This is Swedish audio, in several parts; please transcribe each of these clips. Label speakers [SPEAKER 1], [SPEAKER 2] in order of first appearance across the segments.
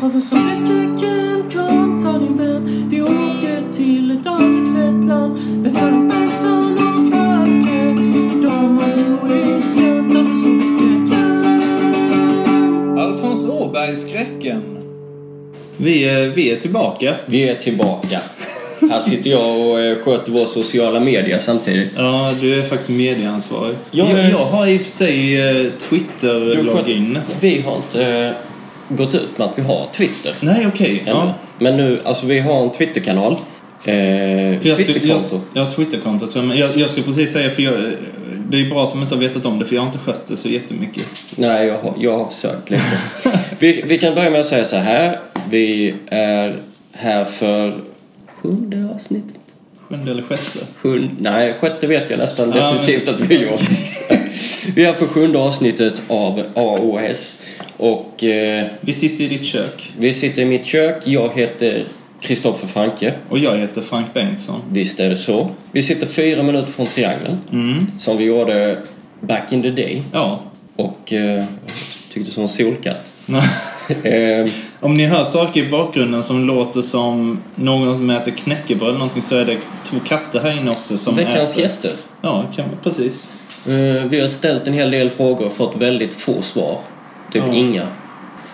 [SPEAKER 1] Framför solväskräcken kom ta din vän Vi åker till ett avlägset land Med Fanny Bengtsson och Franke De har sin mohitt framför solväskräcken
[SPEAKER 2] Alfons Åberg-skräcken. Vi är, vi är tillbaka.
[SPEAKER 3] Vi är tillbaka. Här sitter jag och eh, sköter vår sociala medier samtidigt.
[SPEAKER 2] Ja, du är faktiskt medieansvarig.
[SPEAKER 3] Jag
[SPEAKER 2] jag,
[SPEAKER 3] är-
[SPEAKER 2] jag har i och för sig eh,
[SPEAKER 3] Du
[SPEAKER 2] Twitter-loginet.
[SPEAKER 3] sköter- Vi har inte eh, gått ut med att vi har Twitter.
[SPEAKER 2] Nej, okej.
[SPEAKER 3] ännu.
[SPEAKER 2] Ja.
[SPEAKER 3] Men nu, alltså vi har en Twitterkanal. Eh,
[SPEAKER 2] För jag skulle- jag-
[SPEAKER 3] Twitterkonto.
[SPEAKER 2] Ja, Twitterkontot. för- Men jag, jag skulle precis säga, för jag, eh, det är bra att de inte har vetat om det, för jag har inte skött det så jättemycket.
[SPEAKER 3] Nej, jag har, jag har försökt lite. vi, vi kan börja med att säga så här. Vi är här för sjunde avsnittet.
[SPEAKER 2] Sjunde eller sjätte.
[SPEAKER 3] Sjunde, nej, sjätte vet jag nästan
[SPEAKER 2] Ja, men-
[SPEAKER 3] definitivt att vi gör. vi är för sjunde avsnittet av AOS. Och eh,
[SPEAKER 2] Vi sitter i ditt kök.
[SPEAKER 3] vi sitter i mitt kök. Jag heter Kristoffer Franke.
[SPEAKER 2] Och jag heter Frank Bengtsson.
[SPEAKER 3] Visst är det så. Vi sitter fyra minuter från triangeln.
[SPEAKER 2] Mm.
[SPEAKER 3] Som vi gjorde back in the day.
[SPEAKER 2] Ja.
[SPEAKER 3] Och eh, tyckte som en solkatt. eh,
[SPEAKER 2] Om ni hör saker i bakgrunden som låter som någon som äter knäckebröd eller någonting så är det två katter här inne också som
[SPEAKER 3] veckans
[SPEAKER 2] äter.
[SPEAKER 3] gäster.
[SPEAKER 2] Ja, kan man, precis.
[SPEAKER 3] Eh, vi har ställt en hel del frågor och fått väldigt få svar. Typ
[SPEAKER 2] Ja.
[SPEAKER 3] inga.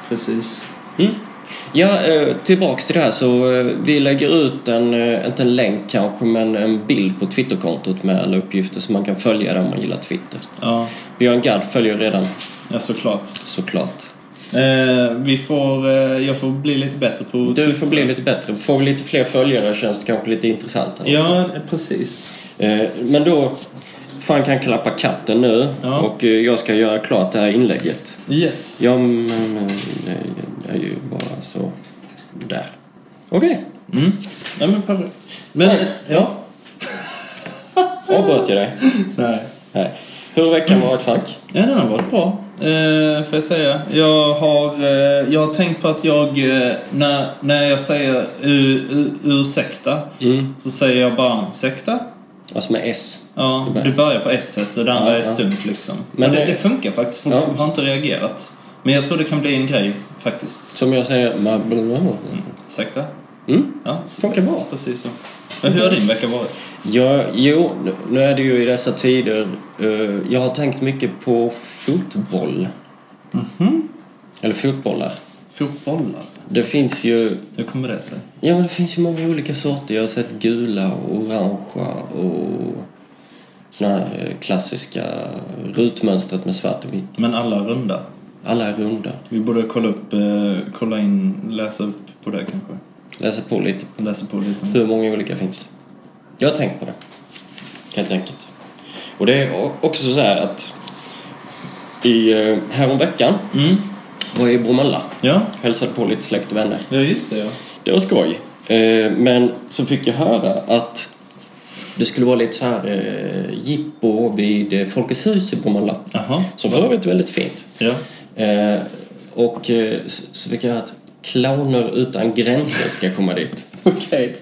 [SPEAKER 2] Precis.
[SPEAKER 3] Mm. Ja, eh, tillbaks till det här så eh, vi lägger ut en, eh, inte en länk kanske, men en bild på Twitterkontot med alla uppgifter så man kan följa där om man gillar Twitter.
[SPEAKER 2] Ja,
[SPEAKER 3] Björn Gadd följer redan
[SPEAKER 2] ja såklart.
[SPEAKER 3] såklart.
[SPEAKER 2] Eh, vi får, eh, jag får bli lite bättre på
[SPEAKER 3] Du får bli lite bättre, får vi lite fler följare känns det kanske lite intressantare.
[SPEAKER 2] Ja, precis.
[SPEAKER 3] Eh, Men då, fan kan klappa katten nu
[SPEAKER 2] Ja.
[SPEAKER 3] och eh, jag ska göra klart det här inlägget.
[SPEAKER 2] Yes.
[SPEAKER 3] Ja, men eh, det är ju bara så. Där. Okej.
[SPEAKER 2] Mm. Ja, men perfekt. Men, eh, ja.
[SPEAKER 3] Avbröt jag dig?
[SPEAKER 2] Nej.
[SPEAKER 3] Nej. Hur har veckan varit Frank?
[SPEAKER 2] Ja, den har varit bra, eh, får jag säga. Jag har, eh, jag har tänkt på att jag, eh, när, när jag säger u- u- ursäkta,
[SPEAKER 3] Mm.
[SPEAKER 2] så säger jag bara ursäkta.
[SPEAKER 3] Alltså med S.
[SPEAKER 2] Ja,
[SPEAKER 3] Det börjar.
[SPEAKER 2] du börjar på S och det andra
[SPEAKER 3] Ja,
[SPEAKER 2] är
[SPEAKER 3] ja.
[SPEAKER 2] stumt liksom.
[SPEAKER 3] Men
[SPEAKER 2] Men det,
[SPEAKER 3] det-
[SPEAKER 2] det funkar faktiskt, folk
[SPEAKER 3] Ja.
[SPEAKER 2] har inte reagerat. Men jag tror det kan bli en grej faktiskt.
[SPEAKER 3] Som jag säger, ma- blablabla.
[SPEAKER 2] Ursäkta?
[SPEAKER 3] Mm.
[SPEAKER 2] Ja,
[SPEAKER 3] Funkar bra.
[SPEAKER 2] Precis så. Men hur har din vecka varit?
[SPEAKER 3] Ja, jo, nu- nu är det ju i dessa tider. eh, jag har tänkt mycket på fotboll. Eller fotbollar.
[SPEAKER 2] Fotbollar?
[SPEAKER 3] Det finns ju...
[SPEAKER 2] Hur kommer det sig?
[SPEAKER 3] Ja, men det finns ju många olika sorter. Jag har sett gula och orangea och såna här eh, klassiska rutmönstret med svart och vitt.
[SPEAKER 2] Men alla är runda.
[SPEAKER 3] Alla är runda.
[SPEAKER 2] Vi borde kolla upp, eh, kolla in, läsa upp på det kanske.
[SPEAKER 3] Läser på lite
[SPEAKER 2] Läsa på lite.
[SPEAKER 3] Hur många olika finns det? Jag har tänkt på det. Helt enkelt. Och det är o- också så här att i, eh, häromveckan
[SPEAKER 2] Mm.
[SPEAKER 3] var jag i Bromölla.
[SPEAKER 2] Ja.
[SPEAKER 3] Hälsade på lite släkt och vänner.
[SPEAKER 2] Ja, just det ja.
[SPEAKER 3] Det var skoj. Eh, Men så fick jag höra att det skulle vara lite så här eh, jippo vid eh, Folkets hus i Bromölla.
[SPEAKER 2] Jaha.
[SPEAKER 3] Som för övrigt är väldigt fint.
[SPEAKER 2] Ja.
[SPEAKER 3] Eh, Och eh, s- så fick jag höra att clowner utan gränser ska komma dit. Okej.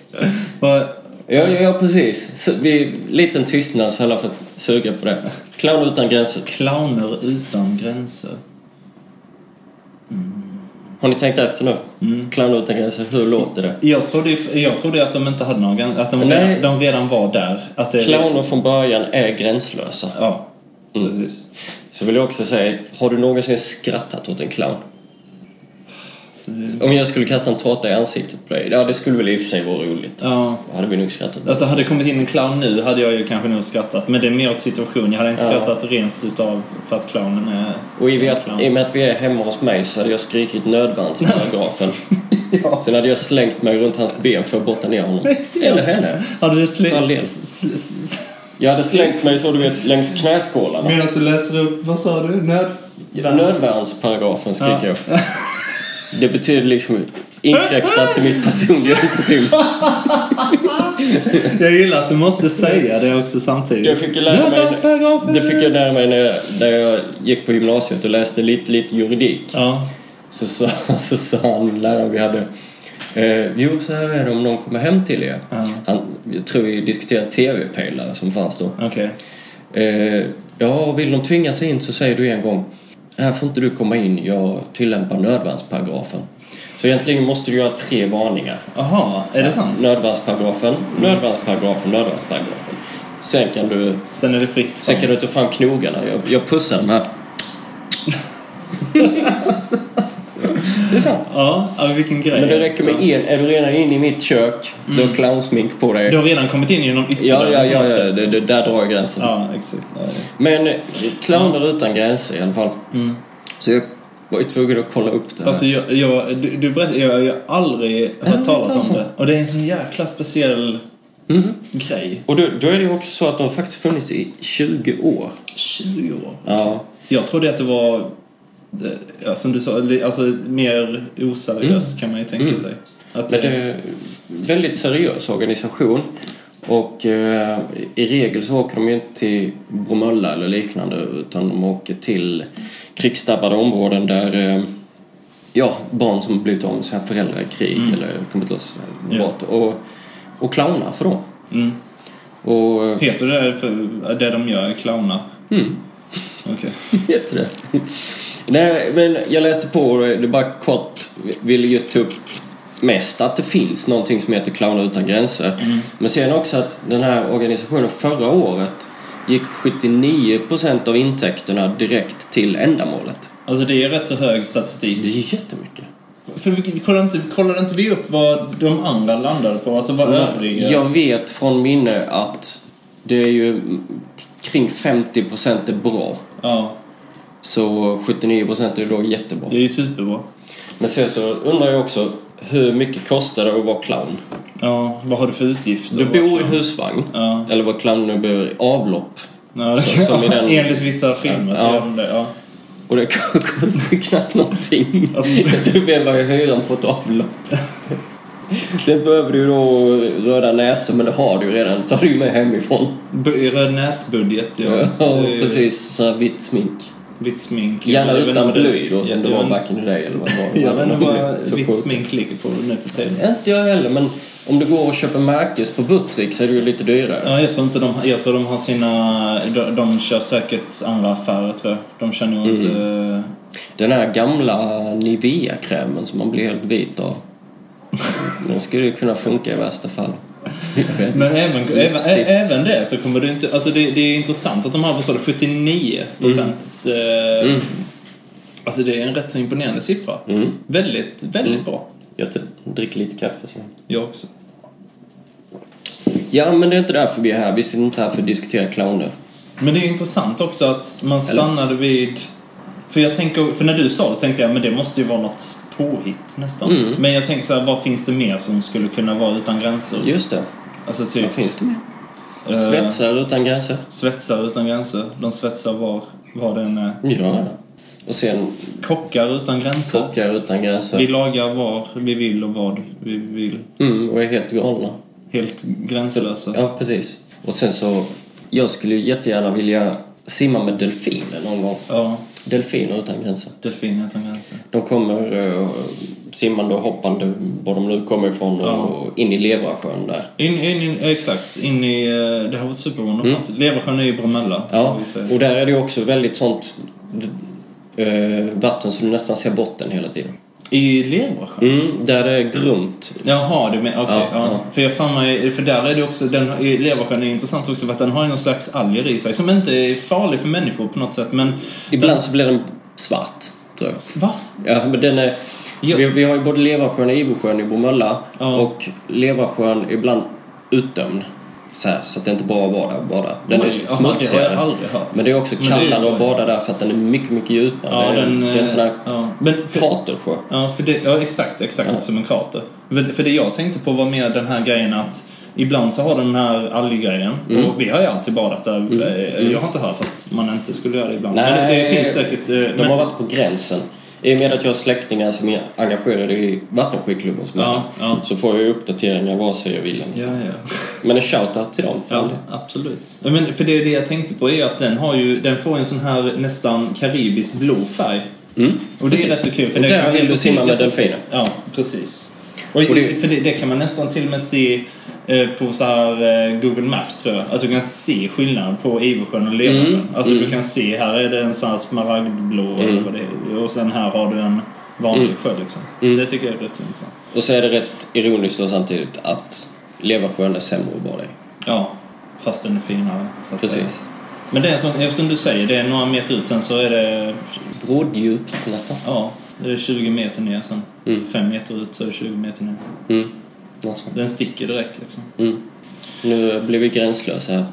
[SPEAKER 2] Vad...
[SPEAKER 3] Ja, ja, ja precis. Så vi, liten tystnad så alla får suga på det. Clown utan gränser.
[SPEAKER 2] Clowner utan gränser.
[SPEAKER 3] Har ni tänkt efter nu?
[SPEAKER 2] Mm.
[SPEAKER 3] Clown utan gränser, hur låter det?
[SPEAKER 2] Jag trodde, ju- jag trodde att de inte hade någon gräns, att de
[SPEAKER 3] Nej.
[SPEAKER 2] redan, de redan var där. Att det,
[SPEAKER 3] Clowner från början är gränslösa.
[SPEAKER 2] Ja,
[SPEAKER 3] Mm.
[SPEAKER 2] precis.
[SPEAKER 3] Så vill jag också säga, har du någonsin skrattat åt en clown?
[SPEAKER 2] Så det,
[SPEAKER 3] Om jag skulle kasta en tårta i ansiktet på dig, ja det skulle väl i och för sig vara roligt.
[SPEAKER 2] ja.
[SPEAKER 3] Då hade vi nog skrattat.
[SPEAKER 2] Alltså hade det kommit in en clown nu hade jag ju kanske nog skrattat. Men det är mer åt situation. Jag hade inte
[SPEAKER 3] Ja.
[SPEAKER 2] skrattat rent utav för att clownen är...
[SPEAKER 3] Och i, och med
[SPEAKER 2] clown.
[SPEAKER 3] att, i och med att vi är hemma hos mig så hade jag skrikit nödvärnsparagrafen.
[SPEAKER 2] Ja.
[SPEAKER 3] Sen hade jag slängt mig runt hans ben för att botta ner honom. Eller henne.
[SPEAKER 2] Hade du
[SPEAKER 3] Ta en
[SPEAKER 2] släckt...
[SPEAKER 3] del. Jag hade slängt mig så du vet längs knäskålarna.
[SPEAKER 2] Medan du läser upp, vad sa du? Nöd...
[SPEAKER 3] Nödvärnsparagrafen skriker
[SPEAKER 2] Ja.
[SPEAKER 3] jag. Det betyder liksom inkräktat till mitt personliga utrymme.
[SPEAKER 2] Jag gillar att du måste säga det också samtidigt.
[SPEAKER 3] Jag fick ju lära mig-
[SPEAKER 2] Nödvärnsparagrafen!
[SPEAKER 3] Det fick jag lära mig när jag, när jag gick på gymnasiet och läste lite, lite juridik.
[SPEAKER 2] Ja.
[SPEAKER 3] Så sa, så sa han, läraren vi hade, Eh, jo, så här är det om någon kommer hem till er.
[SPEAKER 2] Ja.
[SPEAKER 3] Han, jag tror vi diskuterade tv-pelare som fanns då.
[SPEAKER 2] Okej.
[SPEAKER 3] Eh, ja, och vill de tvinga sig in så säger du en gång här får inte du komma in, jag tillämpar nödvärnsparagrafen. Så egentligen måste du göra tre varningar.
[SPEAKER 2] Jaha, är det sant?
[SPEAKER 3] Nödvärnsparagrafen, nödvärnsparagrafen, nödvärnsparagrafen. Sen kan du,
[SPEAKER 2] Sen är det fritt fram.
[SPEAKER 3] sen kan du ta fram knogarna. Jag, jag pussar den här. det är sant.
[SPEAKER 2] Ja, ja, vilken grej.
[SPEAKER 3] Men det räcker med E. en. Är du redan inne i mitt kök, du har clownsmink på dig.
[SPEAKER 2] Du har redan kommit in genom
[SPEAKER 3] Ja,
[SPEAKER 2] ytterdörren
[SPEAKER 3] ja,
[SPEAKER 2] på
[SPEAKER 3] ja,
[SPEAKER 2] något
[SPEAKER 3] ja.
[SPEAKER 2] sätt.
[SPEAKER 3] Det, det, där drar jag gränsen.
[SPEAKER 2] Ja, exakt. Ja, det-
[SPEAKER 3] Men eh, clowner utan gränser i alla fall. Så jag var ju tvungen att kolla upp det här.
[SPEAKER 2] Mm. Alltså, jag, jag, du, du berätt, jag, jag har aldrig hört talas om det. Och det är en sån jäkla speciell
[SPEAKER 3] Mhm.
[SPEAKER 2] grej.
[SPEAKER 3] Och då, då är det ju också så att de faktiskt funnits i 20 år.
[SPEAKER 2] 20 år.
[SPEAKER 3] Ja.
[SPEAKER 2] Jag trodde att det var, det- ja, som du sa, li- alltså mer oseriöst kan man ju tänka sig. Att
[SPEAKER 3] Mm. Men
[SPEAKER 2] det,
[SPEAKER 3] det är en väldigt seriös organisation. Och eh, i regel så åker de ju inte till Bromölla eller liknande utan de åker till krigsdrabbade områden där eh, ja, barn som blivit av med sina föräldrar i krig eller kommit loss
[SPEAKER 2] Mm. Ja.
[SPEAKER 3] brott och, och clownar för dem.
[SPEAKER 2] mm.
[SPEAKER 3] Och eh,
[SPEAKER 2] Heter det där för det de gör, clowna?
[SPEAKER 3] Mm.
[SPEAKER 2] Okej.
[SPEAKER 3] Heter det? Nej, men jag läste på och det bara kort ville just ta upp mest att det finns någonting som heter Clowner utan gränser. Men sen också att den här organisationen förra året gick 79% av intäkterna direkt till ändamålet.
[SPEAKER 2] Alltså det är rätt så hög statistik.
[SPEAKER 3] Det är ju jättemycket.
[SPEAKER 2] För vi vi kollade inte, kollade inte vi upp vad de andra landade på? Alltså vad övriga...
[SPEAKER 3] Jag vet från minne att det är ju kring 50% är bra.
[SPEAKER 2] ja.
[SPEAKER 3] Så 79% är då jättebra.
[SPEAKER 2] Det är ju superbra.
[SPEAKER 3] Men sen så undrar jag också, hur mycket kostar det att vara clown?
[SPEAKER 2] Ja, vad har du för utgifter?
[SPEAKER 3] Du bor i husvagn,
[SPEAKER 2] Ja.
[SPEAKER 3] eller vad clown nu bor i, avlopp.
[SPEAKER 2] Ja, det,
[SPEAKER 3] Som- som i den-
[SPEAKER 2] Enligt vissa filmer så
[SPEAKER 3] Ja.
[SPEAKER 2] gör de det, ja.
[SPEAKER 3] Och det kostar ju knappt någonting. Jag
[SPEAKER 2] Alltså.
[SPEAKER 3] tror mer bara hyran på ett avlopp. Sen behöver du ju då röda näsor, men det har du ju redan. tar du ju med hemifrån.
[SPEAKER 2] B- Röd näsbudget, ja.
[SPEAKER 3] Ja,
[SPEAKER 2] Det är ju
[SPEAKER 3] precis. Så här vitt smink.
[SPEAKER 2] Vitt smink.
[SPEAKER 3] Gärna
[SPEAKER 2] Jag vet inte
[SPEAKER 3] utan
[SPEAKER 2] vad det-
[SPEAKER 3] bly då,
[SPEAKER 2] jag-
[SPEAKER 3] som det
[SPEAKER 2] jag
[SPEAKER 3] var
[SPEAKER 2] vet-
[SPEAKER 3] back in the day. Eller vad det var.
[SPEAKER 2] Jag vet inte
[SPEAKER 3] Så
[SPEAKER 2] vad vitt
[SPEAKER 3] sjukt.
[SPEAKER 2] smink ligger på nu för tiden.
[SPEAKER 3] Inte jag heller, men om du går och köper märkes på Buttrick så är det ju lite dyrare.
[SPEAKER 2] Ja, jag tror inte de, jag tror de har sina, de, de kör säkert andra affärer tror jag. De kör nog
[SPEAKER 3] Mm.
[SPEAKER 2] inte... eh,
[SPEAKER 3] Den här gamla Nivea-krämen som man blir helt vit av. Den skulle ju kunna funka i värsta fall.
[SPEAKER 2] Men även, även,
[SPEAKER 3] Lipstift.
[SPEAKER 2] ä, även det så kommer du inte... Alltså det, det är intressant att de har, vad sa du, 79 procents... Eh, Alltså det är en rätt så imponerande siffra. Väldigt, väldigt
[SPEAKER 3] Mm.
[SPEAKER 2] bra.
[SPEAKER 3] Jag t- dricker lite kaffe så.
[SPEAKER 2] Jag också.
[SPEAKER 3] Ja, men det är inte därför vi är här. Vi sitter inte här för att diskutera clowner.
[SPEAKER 2] Men det är intressant också att man stannade vid... För jag tänker, för när du sa det så tänkte jag men det måste ju vara något påhitt nästan. Men jag tänker så här, vad finns det mer som skulle kunna vara utan gränser?
[SPEAKER 3] Just det.
[SPEAKER 2] Alltså
[SPEAKER 3] Vad
[SPEAKER 2] typ...
[SPEAKER 3] finns det mer?
[SPEAKER 2] eh,
[SPEAKER 3] Svetsar utan gränser.
[SPEAKER 2] Svetsar utan gränser. De svetsar var, var den är.
[SPEAKER 3] Ja. Och sen
[SPEAKER 2] Kockar utan gränser.
[SPEAKER 3] kockar utan
[SPEAKER 2] Vi
[SPEAKER 3] gränser.
[SPEAKER 2] lagar var vi vill och vad vi vill.
[SPEAKER 3] Mm, och är helt galna.
[SPEAKER 2] Helt gränslösa.
[SPEAKER 3] Ja, precis. Och sen så... Jag skulle ju jättegärna vilja simma med delfiner någon gång.
[SPEAKER 2] Ja,
[SPEAKER 3] Delfiner utan gränser.
[SPEAKER 2] delfiner utan gränser.
[SPEAKER 3] De kommer eh, simmande och hoppande, var de nu kommer ifrån, och och in i Levrasjön där.
[SPEAKER 2] In, in, in, exakt, in i... eh, Det här var superbra om det fanns. Leversjön är ju Bromölla.
[SPEAKER 3] Mm. Ja,
[SPEAKER 2] kan vi säga.
[SPEAKER 3] och där är det ju också väldigt sånt eh, vatten som du nästan ser botten hela tiden.
[SPEAKER 2] I Leversjön?
[SPEAKER 3] Mm, där det är grunt.
[SPEAKER 2] Jaha, du menar... Okej.
[SPEAKER 3] Ja,
[SPEAKER 2] ja, För jag fan mig, För där är det också... Den, i Leversjön är intressant också för att den har ju någon slags alger i sig som inte är farlig för människor på något sätt men...
[SPEAKER 3] Ibland så blir den svart, tror jag.
[SPEAKER 2] Va?
[SPEAKER 3] Ja, men den är,
[SPEAKER 2] Ja.
[SPEAKER 3] vi, vi har ju både Levrasjön och Ibosjön i Bromölla
[SPEAKER 2] Ja.
[SPEAKER 3] och Levrasjön är ibland utdömd. Så, här, så att det inte bara är bara bara. Den är
[SPEAKER 2] Oj, jaha, Det har
[SPEAKER 3] smutsigare.
[SPEAKER 2] jag aldrig hört.
[SPEAKER 3] Men det är också
[SPEAKER 2] Men det är ju-
[SPEAKER 3] kallare att bada där för att den är mycket, mycket djupare.
[SPEAKER 2] Ja,
[SPEAKER 3] det, är,
[SPEAKER 2] den...
[SPEAKER 3] det är en sån
[SPEAKER 2] eh,
[SPEAKER 3] här
[SPEAKER 2] ja. Men för,
[SPEAKER 3] kratersjö.
[SPEAKER 2] Ja, för det, ja exakt, exakt som en krater. För, för det jag tänkte på var mer den här grejen att ibland så har den här alggrejen,
[SPEAKER 3] Mm.
[SPEAKER 2] och vi har ju alltid badat där. Eh, Jag har inte hört att man inte skulle göra det ibland. men det, det
[SPEAKER 3] Nej,
[SPEAKER 2] finns säkert. eh,
[SPEAKER 3] De
[SPEAKER 2] men,
[SPEAKER 3] har varit på gränsen. I och med att jag har släktingar som är engagerade i vattenskidklubben som är
[SPEAKER 2] Ja,
[SPEAKER 3] där,
[SPEAKER 2] ja.
[SPEAKER 3] så får jag ju uppdateringar vare sig jag vill eller inte.
[SPEAKER 2] Ja, ja.
[SPEAKER 3] Men en shoutout till dem för all
[SPEAKER 2] Ja,
[SPEAKER 3] del.
[SPEAKER 2] absolut. Ja, Men för det, är det jag tänkte på är att den har ju, den får en sån här nästan karibisk blå färg.
[SPEAKER 3] Mm.
[SPEAKER 2] Och det är
[SPEAKER 3] Precis.
[SPEAKER 2] rätt så kul. För
[SPEAKER 3] Och
[SPEAKER 2] det
[SPEAKER 3] där
[SPEAKER 2] kan
[SPEAKER 3] vill
[SPEAKER 2] jag
[SPEAKER 3] du simma med
[SPEAKER 2] jag tror-
[SPEAKER 3] delfiner.
[SPEAKER 2] Ja, precis. Och,
[SPEAKER 3] Och det-
[SPEAKER 2] för det, det kan man nästan till och med se eh, på så här eh, Google Maps tror jag. Att du kan se skillnad på Iversjön och Leversjön.
[SPEAKER 3] Mm,
[SPEAKER 2] Alltså
[SPEAKER 3] mm.
[SPEAKER 2] du kan se, här är det en sån här smaragdblå eller vad det är. Och sen här har du en vanlig
[SPEAKER 3] Mm.
[SPEAKER 2] sjö liksom. Det tycker jag är rätt intressant.
[SPEAKER 3] Och så är det rätt ironiskt då samtidigt att Leversjön är sämre att bada i.
[SPEAKER 2] Ja, fast den är finare så att säga.
[SPEAKER 3] Precis.
[SPEAKER 2] Men det är en sån, eftersom du säger, det är några meter ut sen så är det,
[SPEAKER 3] Bråddjupt nästan.
[SPEAKER 2] ja, det är 20 meter ner sen. Fem meter ut så är det 20 meter ner.
[SPEAKER 3] Mm. Något sånt.
[SPEAKER 2] Den sticker direkt liksom.
[SPEAKER 3] Mm. Nu blir vi gränslösa här.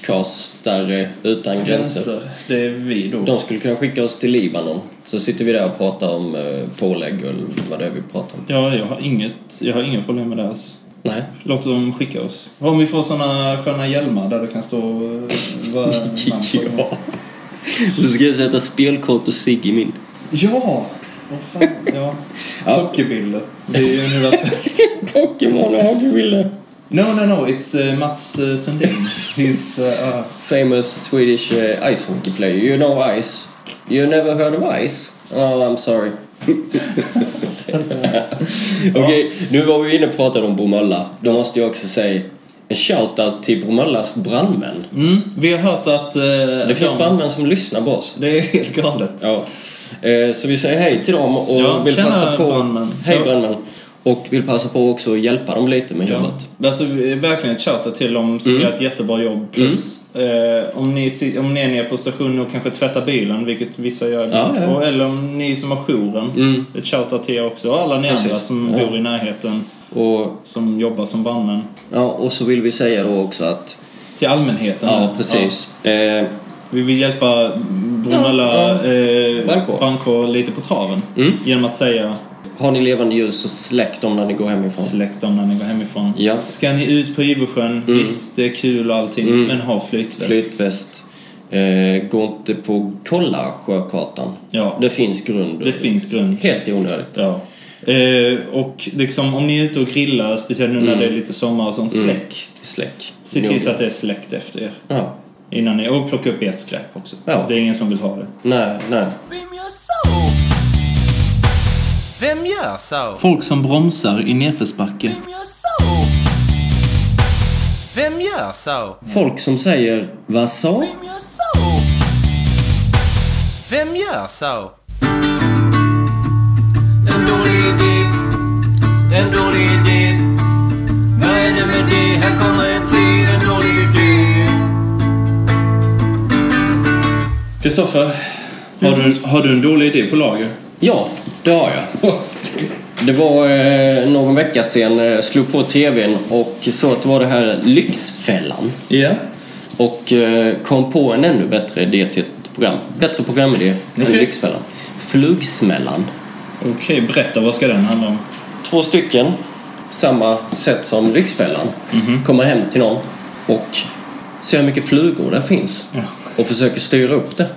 [SPEAKER 3] Podcastare utan gränser.
[SPEAKER 2] Det är vi då.
[SPEAKER 3] De skulle kunna skicka oss till Libanon. Så sitter vi där och pratar om eh, pålägg och vad det är vi pratar om.
[SPEAKER 2] Ja, jag har inget, jag har inga problem med det alls.
[SPEAKER 3] Nej.
[SPEAKER 2] Låt dem skicka oss. Om vi får såna sköna hjälmar där det kan stå... eh, vad- namn på.
[SPEAKER 3] Ja. Så ska jag sätta spelkort och cigg i min.
[SPEAKER 2] Ja! Åh fan, ja.
[SPEAKER 3] Ja.
[SPEAKER 2] Hockeybilder. Det är ju universellt.
[SPEAKER 3] Pokémon och hockeybilder.
[SPEAKER 2] No, no, no. It's eh, Mats eh, Sundin. He's... eh, uh,
[SPEAKER 3] Famous Swedish eh, ice hockey player. You know ice. You never heard of ice? Oh, I'm sorry. Okej, nu var vi inne och pratade om Bromölla. Då måste jag också säga en shout-out till Bromöllas brandmän.
[SPEAKER 2] mm, vi har hört att... eh,
[SPEAKER 3] Det finns
[SPEAKER 2] de-
[SPEAKER 3] brandmän som lyssnar på oss.
[SPEAKER 2] Det är helt galet.
[SPEAKER 3] Ja. Eh, Så vi säger hej till dem och
[SPEAKER 2] Ja,
[SPEAKER 3] vill
[SPEAKER 2] tjena,
[SPEAKER 3] passa på...
[SPEAKER 2] brandmän.
[SPEAKER 3] Hej
[SPEAKER 2] Ja.
[SPEAKER 3] brandmän. Och vill passa på också att hjälpa dem lite med
[SPEAKER 2] Ja.
[SPEAKER 3] jobbet.
[SPEAKER 2] Alltså, verkligen ett shoutout till dem
[SPEAKER 3] Mm.
[SPEAKER 2] som gör ett jättebra jobb. Plus, eh, om, ni, si- om ni är nere på stationen och kanske tvättar bilen, vilket vissa gör.
[SPEAKER 3] Ja, ja. Mm.
[SPEAKER 2] Och, eller om ni som har jouren. Ett shoutout till er också. Och alla ni
[SPEAKER 3] Precis.
[SPEAKER 2] andra som
[SPEAKER 3] Ja.
[SPEAKER 2] bor i närheten,
[SPEAKER 3] Och,
[SPEAKER 2] som jobbar som brandmän.
[SPEAKER 3] ja, och så vill vi säga då också att...
[SPEAKER 2] Till allmänheten.
[SPEAKER 3] Ja, precis. Eh,
[SPEAKER 2] Ja. Vi vill hjälpa Brunella eh,
[SPEAKER 3] Brandkår. Mm.
[SPEAKER 2] Brandkår lite på traven. Genom att säga
[SPEAKER 3] Har ni levande ljus så släck dem när ni går hemifrån.
[SPEAKER 2] släck dem när ni går hemifrån.
[SPEAKER 3] Ja.
[SPEAKER 2] Ska ni ut på Iversjön, visst det är kul och allting, men ha flytväst.
[SPEAKER 3] Flytväst. Eh, gå inte på... Kolla sjökartan.
[SPEAKER 2] Ja.
[SPEAKER 3] Det finns grund.
[SPEAKER 2] Det finns grund.
[SPEAKER 3] Helt i onödigt.
[SPEAKER 2] Ja. Eh, och liksom om ni är ute och grillar, speciellt nu när det är lite sommar och sånt, släck.
[SPEAKER 3] Släck.
[SPEAKER 2] Se till så att det är släckt efter er.
[SPEAKER 3] Ja.
[SPEAKER 2] Innan ni, och plocka upp ert skräp också.
[SPEAKER 3] Ja.
[SPEAKER 2] Det är ingen som vill ha det.
[SPEAKER 3] Nej, nej.
[SPEAKER 1] Vem gör så?
[SPEAKER 4] Vem gör så?
[SPEAKER 2] Folk som bromsar i nedförsbacke.
[SPEAKER 1] Vem gör så?
[SPEAKER 4] Vem gör så?
[SPEAKER 3] Folk som säger vad sa?
[SPEAKER 1] Vem gör så?
[SPEAKER 4] Vem gör så?
[SPEAKER 1] En dålig idé, en dålig idé. Vad är det med det? Här kommer en till, en dålig idé.
[SPEAKER 2] Kristoffer, har, du, har du en dålig idé på lager?
[SPEAKER 3] Ja, det har jag. Det var eh, någon vecka sedan, eh, slog på tvn och så att det var det här Lyxfällan.
[SPEAKER 2] Ja.
[SPEAKER 3] Och eh, kom på en ännu bättre idé till ett program. Bättre programidé än
[SPEAKER 2] Okej.
[SPEAKER 3] Lyxfällan. Flugsmällan.
[SPEAKER 2] Okej, berätta. Vad ska den handla om?
[SPEAKER 3] Två stycken, samma sätt som Lyxfällan, kommer hem till någon och ser hur mycket flugor det finns.
[SPEAKER 2] Ja.
[SPEAKER 3] Och försöker styra upp det.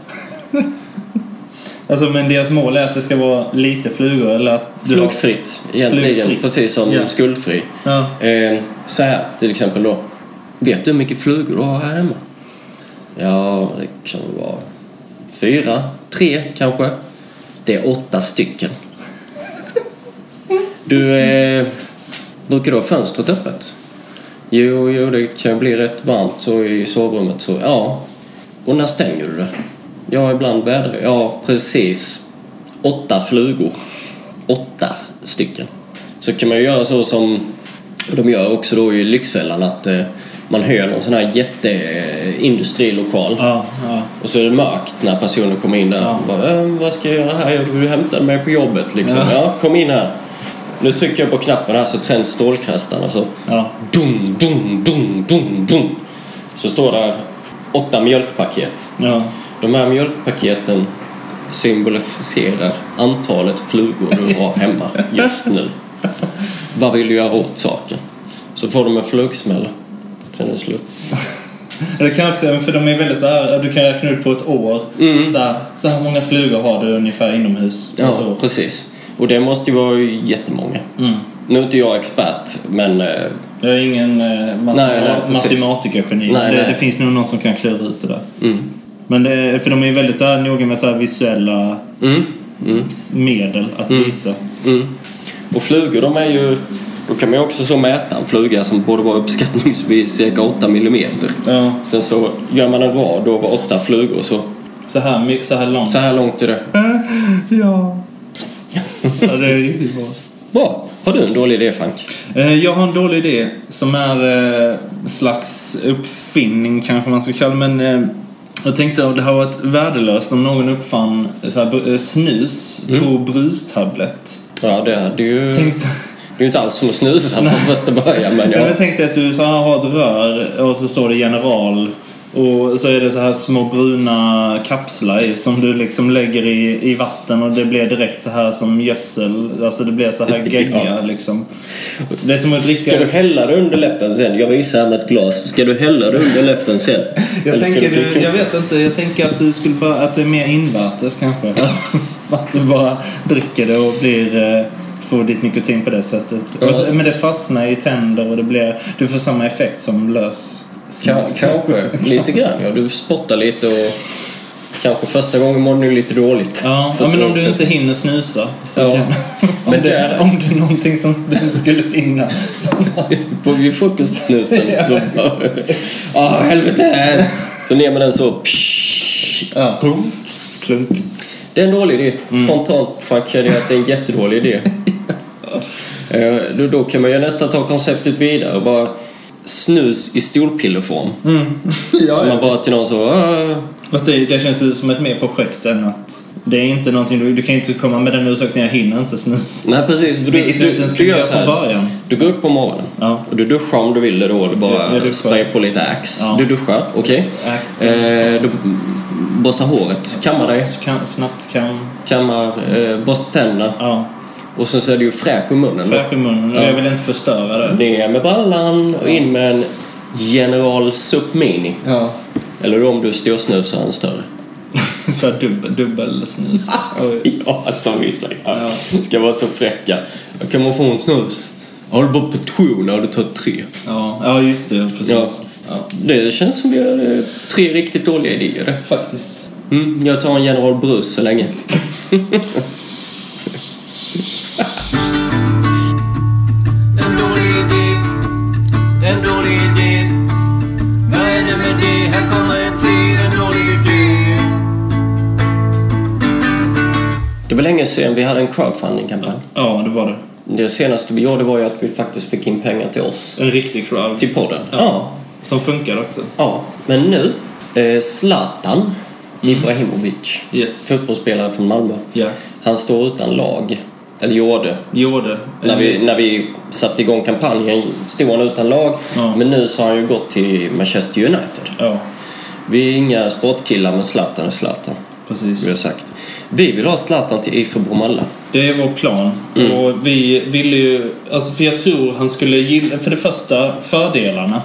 [SPEAKER 2] Alltså, men deras mål är att det ska vara lite flugor eller att... du har-
[SPEAKER 3] Flugfritt egentligen,
[SPEAKER 2] Flugfritt.
[SPEAKER 3] precis som
[SPEAKER 2] Ja.
[SPEAKER 3] skuldfri.
[SPEAKER 2] Ja.
[SPEAKER 3] Eh, så här till exempel då. Vet du hur mycket flugor du har här hemma? Ja, det kan väl vara fyra, tre kanske. Det är åtta stycken. Du, eh, brukar du ha fönstret öppet? Jo, jo, det kan bli rätt varmt så i sovrummet så, ja. Och när stänger du det? Ja, ibland väder. Ja, precis. Åtta flugor. Åtta stycken. Så kan man ju göra så som de gör också då i Lyxfällan att eh, man hör någon sån här jätteindustrilokal.
[SPEAKER 2] Ja, ja.
[SPEAKER 3] Och så är det mörkt när personen kommer in där.
[SPEAKER 2] Ja.
[SPEAKER 3] Bara, "Ehm, vad ska jag göra här? Jag du hämtade mig på jobbet liksom. Ja. kom in här. Nu trycker jag på knappen här så tänds strålkastarna. Så
[SPEAKER 2] ja.
[SPEAKER 3] dum, dum, dum, dum, dum. Så står där åtta mjölkpaket.
[SPEAKER 2] ja.
[SPEAKER 3] De här mjölkpaketen symboliserar antalet flugor du har hemma just nu. Vad vill du göra åt saken? Så får de en flugsmäll. Sen är det slut.
[SPEAKER 2] Det kan också, för de är väldigt så här, du kan räkna ut på ett år. Så, här, så här många flugor har du ungefär inomhus på ett
[SPEAKER 3] Mm. Ja,
[SPEAKER 2] år.
[SPEAKER 3] precis. Och det måste ju vara jättemånga.
[SPEAKER 2] Mm.
[SPEAKER 3] Nu är inte jag expert, men eh,
[SPEAKER 2] Jag är ingen eh, mat-
[SPEAKER 3] Nej, nej, precis.
[SPEAKER 2] matematikergeni.
[SPEAKER 3] Nej,
[SPEAKER 2] det,
[SPEAKER 3] nej. Mm.
[SPEAKER 2] det finns nog någon som kan klura ut det där. Men det, är- för de är väldigt så här, noga med så här visuella s- medel att visa.
[SPEAKER 3] Mm. Och flugor de är ju... Då kan man ju också så mäta en fluga som borde vara uppskattningsvis cirka 8 millimeter.
[SPEAKER 2] Ja.
[SPEAKER 3] Sen så gör man en rad över åtta flugor så,
[SPEAKER 2] Så här, my- så här långt.
[SPEAKER 3] så här långt är det.
[SPEAKER 2] Ja. ja, det är riktigt bra.
[SPEAKER 3] Bra! Har du en dålig idé Frank?
[SPEAKER 2] Eh, Jag har en dålig idé som är eh, en slags uppfinning kanske man ska kalla det, men eh, jag tänkte att det här varit värdelöst om någon uppfann eh, så här, br- eh, snus på
[SPEAKER 3] Mm.
[SPEAKER 2] brustablett.
[SPEAKER 3] Ja, det är det är ju...
[SPEAKER 2] Tänkte,
[SPEAKER 3] Det är ju inte alls som att snusa från första början men
[SPEAKER 2] ja.
[SPEAKER 3] Mm. ja.
[SPEAKER 2] Jag tänkte att du så här har ett rör och så står det general och så är det så här små bruna kapslar i som du liksom lägger i, i vatten och det blir direkt så här som gödsel. Alltså det blir så här gegga
[SPEAKER 3] Ja.
[SPEAKER 2] liksom. Det är som att dricka...
[SPEAKER 3] Ska du hälla det under läppen sen? Jag visar här med ett glas. Ska du hälla det under läppen sen? Eller
[SPEAKER 2] Jag,
[SPEAKER 3] ska
[SPEAKER 2] tänker,
[SPEAKER 3] du-
[SPEAKER 2] du, jag vet inte, jag tänker att, du skulle bara, att det är mer invärtes kanske. Att, att du bara dricker det och blir, eh, får ditt nikotin på det sättet. Och så- men det fastnar i tänder och det blir, du får samma effekt som lös
[SPEAKER 3] Ka- Kanske. Lite grann ja. Du spottar lite och... Kanske första gången mår du lite dåligt.
[SPEAKER 2] Ja, ja,
[SPEAKER 3] Första
[SPEAKER 2] men om du
[SPEAKER 3] gången.
[SPEAKER 2] inte hinner snusa så
[SPEAKER 3] Ja.
[SPEAKER 2] kan, om,
[SPEAKER 3] Men
[SPEAKER 2] det,
[SPEAKER 3] där-
[SPEAKER 2] om det är någonting som du inte skulle hinna. Så,
[SPEAKER 3] På vid frukostsnusen så bara... Ah, helvete! Så ner med den så...
[SPEAKER 2] ja. Klunk.
[SPEAKER 3] Det är en dålig idé.
[SPEAKER 2] Mm.
[SPEAKER 3] Spontant Frank känner jag att det är en jättedålig idé. Eh, Då, då kan man ju nästan ta konceptet vidare och bara snus i stolpillerform.
[SPEAKER 2] Mm.
[SPEAKER 3] så man bara till någon så... "Ah."
[SPEAKER 2] Fast det, det känns ju som ett mer projekt än att det är inte någonting du, du kan ju inte komma med den ursäkten jag hinner inte snusa.
[SPEAKER 3] Nej precis. Du,
[SPEAKER 2] Vilket du inte ens skulle
[SPEAKER 3] gör
[SPEAKER 2] göra
[SPEAKER 3] så här.
[SPEAKER 2] från början.
[SPEAKER 3] Du går upp på morgonen
[SPEAKER 2] Ja.
[SPEAKER 3] och du duschar om du vill det då. Du
[SPEAKER 2] Jag- jag
[SPEAKER 3] bara
[SPEAKER 2] duschar.
[SPEAKER 3] sprayar på lite ax.
[SPEAKER 2] Ja.
[SPEAKER 3] Du duschar, okej.
[SPEAKER 2] Ax.
[SPEAKER 3] Eh, du borstar håret, kammar dig,
[SPEAKER 2] Kan, snabbt kan...
[SPEAKER 3] kammar, eh, borstar tänderna.
[SPEAKER 2] Ja.
[SPEAKER 3] Och sen så är du ju fräsch i munnen. då.
[SPEAKER 2] Fräsch i munnen.
[SPEAKER 3] Mm. Ja.
[SPEAKER 2] Jag vill inte förstöra det.
[SPEAKER 3] Ner med brallan och in med en General Sup Mini.
[SPEAKER 2] Ja.
[SPEAKER 3] Eller om du storsnusar en större.
[SPEAKER 2] För dubbel, dubbelsnus. Oj.
[SPEAKER 3] Ja, alltså, som vissa gör.
[SPEAKER 2] Ja.
[SPEAKER 3] Ska vara så fräcka. Kan man få en snus? Har du bara portioner har du tagit tre.
[SPEAKER 2] Ja. ja, just det. Precis.
[SPEAKER 3] Ja.
[SPEAKER 2] Ja.
[SPEAKER 3] Det känns som vi har eh, tre riktigt dåliga idéer. eh,
[SPEAKER 2] Faktiskt.
[SPEAKER 3] Mm, jag tar en General Bruce så länge.
[SPEAKER 4] En dålig idé. En dålig idé. Vad är det med det? Här kommer en till. En dålig idé.
[SPEAKER 3] Det var länge sedan vi hade en crowdfunding-kampanj.
[SPEAKER 2] Ja, det var det.
[SPEAKER 3] Det senaste vi gjorde var ju att vi faktiskt fick in pengar till oss.
[SPEAKER 2] En riktig crowd.
[SPEAKER 3] Till podden.
[SPEAKER 2] Ja.
[SPEAKER 3] ja.
[SPEAKER 2] Som funkar också.
[SPEAKER 3] Ja, men nu. Eh, Zlatan Mm. Ibrahimovic.
[SPEAKER 2] Yes.
[SPEAKER 3] Fotbollsspelare från Malmö.
[SPEAKER 2] Ja.
[SPEAKER 3] Han står utan lag. Eller gjorde.
[SPEAKER 2] Gjorde.
[SPEAKER 3] När vi, när vi satte igång kampanjen stod han utan lag.
[SPEAKER 2] Ja.
[SPEAKER 3] Men nu så har han ju gått till Manchester United.
[SPEAKER 2] Ja,
[SPEAKER 3] Vi är inga sportkillar men Zlatan är Zlatan.
[SPEAKER 2] precis.
[SPEAKER 3] Vi har sagt. Vi vill ha Zlatan till IFK Bromalla.
[SPEAKER 2] Det är vår plan.
[SPEAKER 3] Mm.
[SPEAKER 2] Och vi ville ju... Alltså för jag tror han skulle gilla... För det första, fördelarna.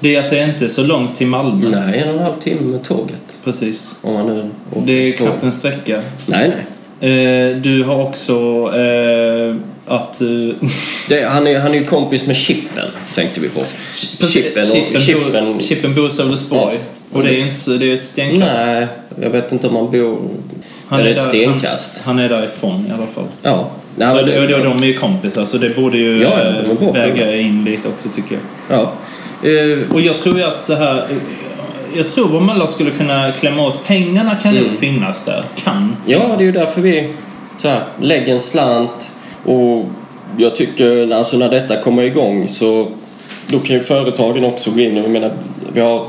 [SPEAKER 2] Det är att det inte är så långt till Malmö.
[SPEAKER 3] Nej, en och en halv timme med tåget.
[SPEAKER 2] Precis.
[SPEAKER 3] Om man nu åker
[SPEAKER 2] Det är
[SPEAKER 3] tåg.
[SPEAKER 2] knappt en sträcka.
[SPEAKER 3] Nej, nej.
[SPEAKER 2] Eh, du har också eh, att... Eh,
[SPEAKER 3] Det, han, är, han är ju kompis med Chippen, tänkte vi på. Chippen,
[SPEAKER 2] Chippen, Chippen,
[SPEAKER 3] och, Chippen,
[SPEAKER 2] Chippen bor i Sölvesborg. Och det är inte så, det är ett stenkast.
[SPEAKER 3] Nej, jag vet inte om han bor... Han är det ett stenkast?
[SPEAKER 2] Han, han är därifrån i alla fall.
[SPEAKER 3] Ja. Nej,
[SPEAKER 2] Så
[SPEAKER 3] men
[SPEAKER 2] det, och
[SPEAKER 3] det-
[SPEAKER 2] då, de är ju kompisar så det borde ju
[SPEAKER 3] Ja, ja, de är
[SPEAKER 2] eh,
[SPEAKER 3] bra.
[SPEAKER 2] väga in lite också tycker jag.
[SPEAKER 3] ja. Eh,
[SPEAKER 2] Och jag tror ju att så här... eh, Jag tror Bromölla skulle kunna klämma åt pengarna kan nog finnas där. Kan.
[SPEAKER 3] Mm. ja, det är ju därför vi så här, lägger en slant och jag tycker alltså när detta kommer igång så då kan ju företagen också gå in. Jag menar, vi har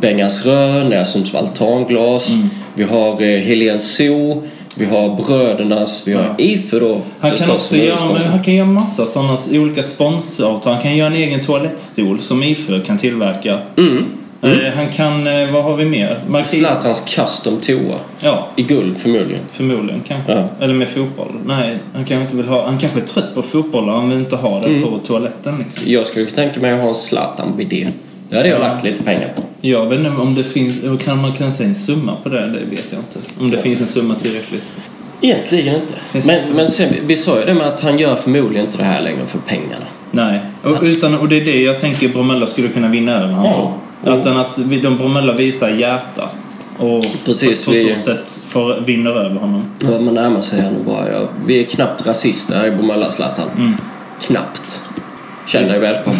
[SPEAKER 3] Bengans Rör, Näsunds Altanglas,
[SPEAKER 2] Mm.
[SPEAKER 3] vi har eh, Helen Zoo, vi har Brödernas, vi har
[SPEAKER 2] Ja.
[SPEAKER 3] IFE då
[SPEAKER 2] Han kan
[SPEAKER 3] förstås,
[SPEAKER 2] också
[SPEAKER 3] som är
[SPEAKER 2] göra, men
[SPEAKER 3] sponsor.
[SPEAKER 2] han kan göra massa sådana olika sponsoravtal. Han kan göra en egen toalettstol som IFÖ kan tillverka. Eh, Han kan, eh, vad har vi mer? Marki-
[SPEAKER 3] Mm. Zlatans custom toa.
[SPEAKER 2] Ja,
[SPEAKER 3] I guld förmodligen.
[SPEAKER 2] förmodligen kanske.
[SPEAKER 3] Ja.
[SPEAKER 2] Eller med fotboll. Nej, han kanske inte vill ha, han kanske är trött på fotboll och han vill inte ha
[SPEAKER 3] Mm.
[SPEAKER 2] det på toaletten liksom.
[SPEAKER 3] Jag skulle tänka mig att ha en Zlatan bidé. Det hade jag lagt lite pengar på.
[SPEAKER 2] Jag vet inte om det finns, kan man kan säga en summa på det? Det vet jag inte. Om det finns en summa tillräckligt.
[SPEAKER 3] Egentligen inte.
[SPEAKER 2] Finns det
[SPEAKER 3] Men,
[SPEAKER 2] för-
[SPEAKER 3] men sen, vi sa ju det med att han gör förmodligen inte det här längre för pengarna.
[SPEAKER 2] Nej, och, utan, och det är det jag tänker Bromölla skulle kunna vinna över honom
[SPEAKER 3] Ja.
[SPEAKER 2] på. Utan att vi, de Bromölla visar hjärta. Och
[SPEAKER 3] Precis,
[SPEAKER 2] på, på
[SPEAKER 3] vi-
[SPEAKER 2] så sätt för, vinner över honom.
[SPEAKER 3] Ja, man närmar sig honom bara. Ja. Vi är knappt rasister i Bromölla Zlatan.
[SPEAKER 2] Mm.
[SPEAKER 3] Knappt. Känn dig välkommen.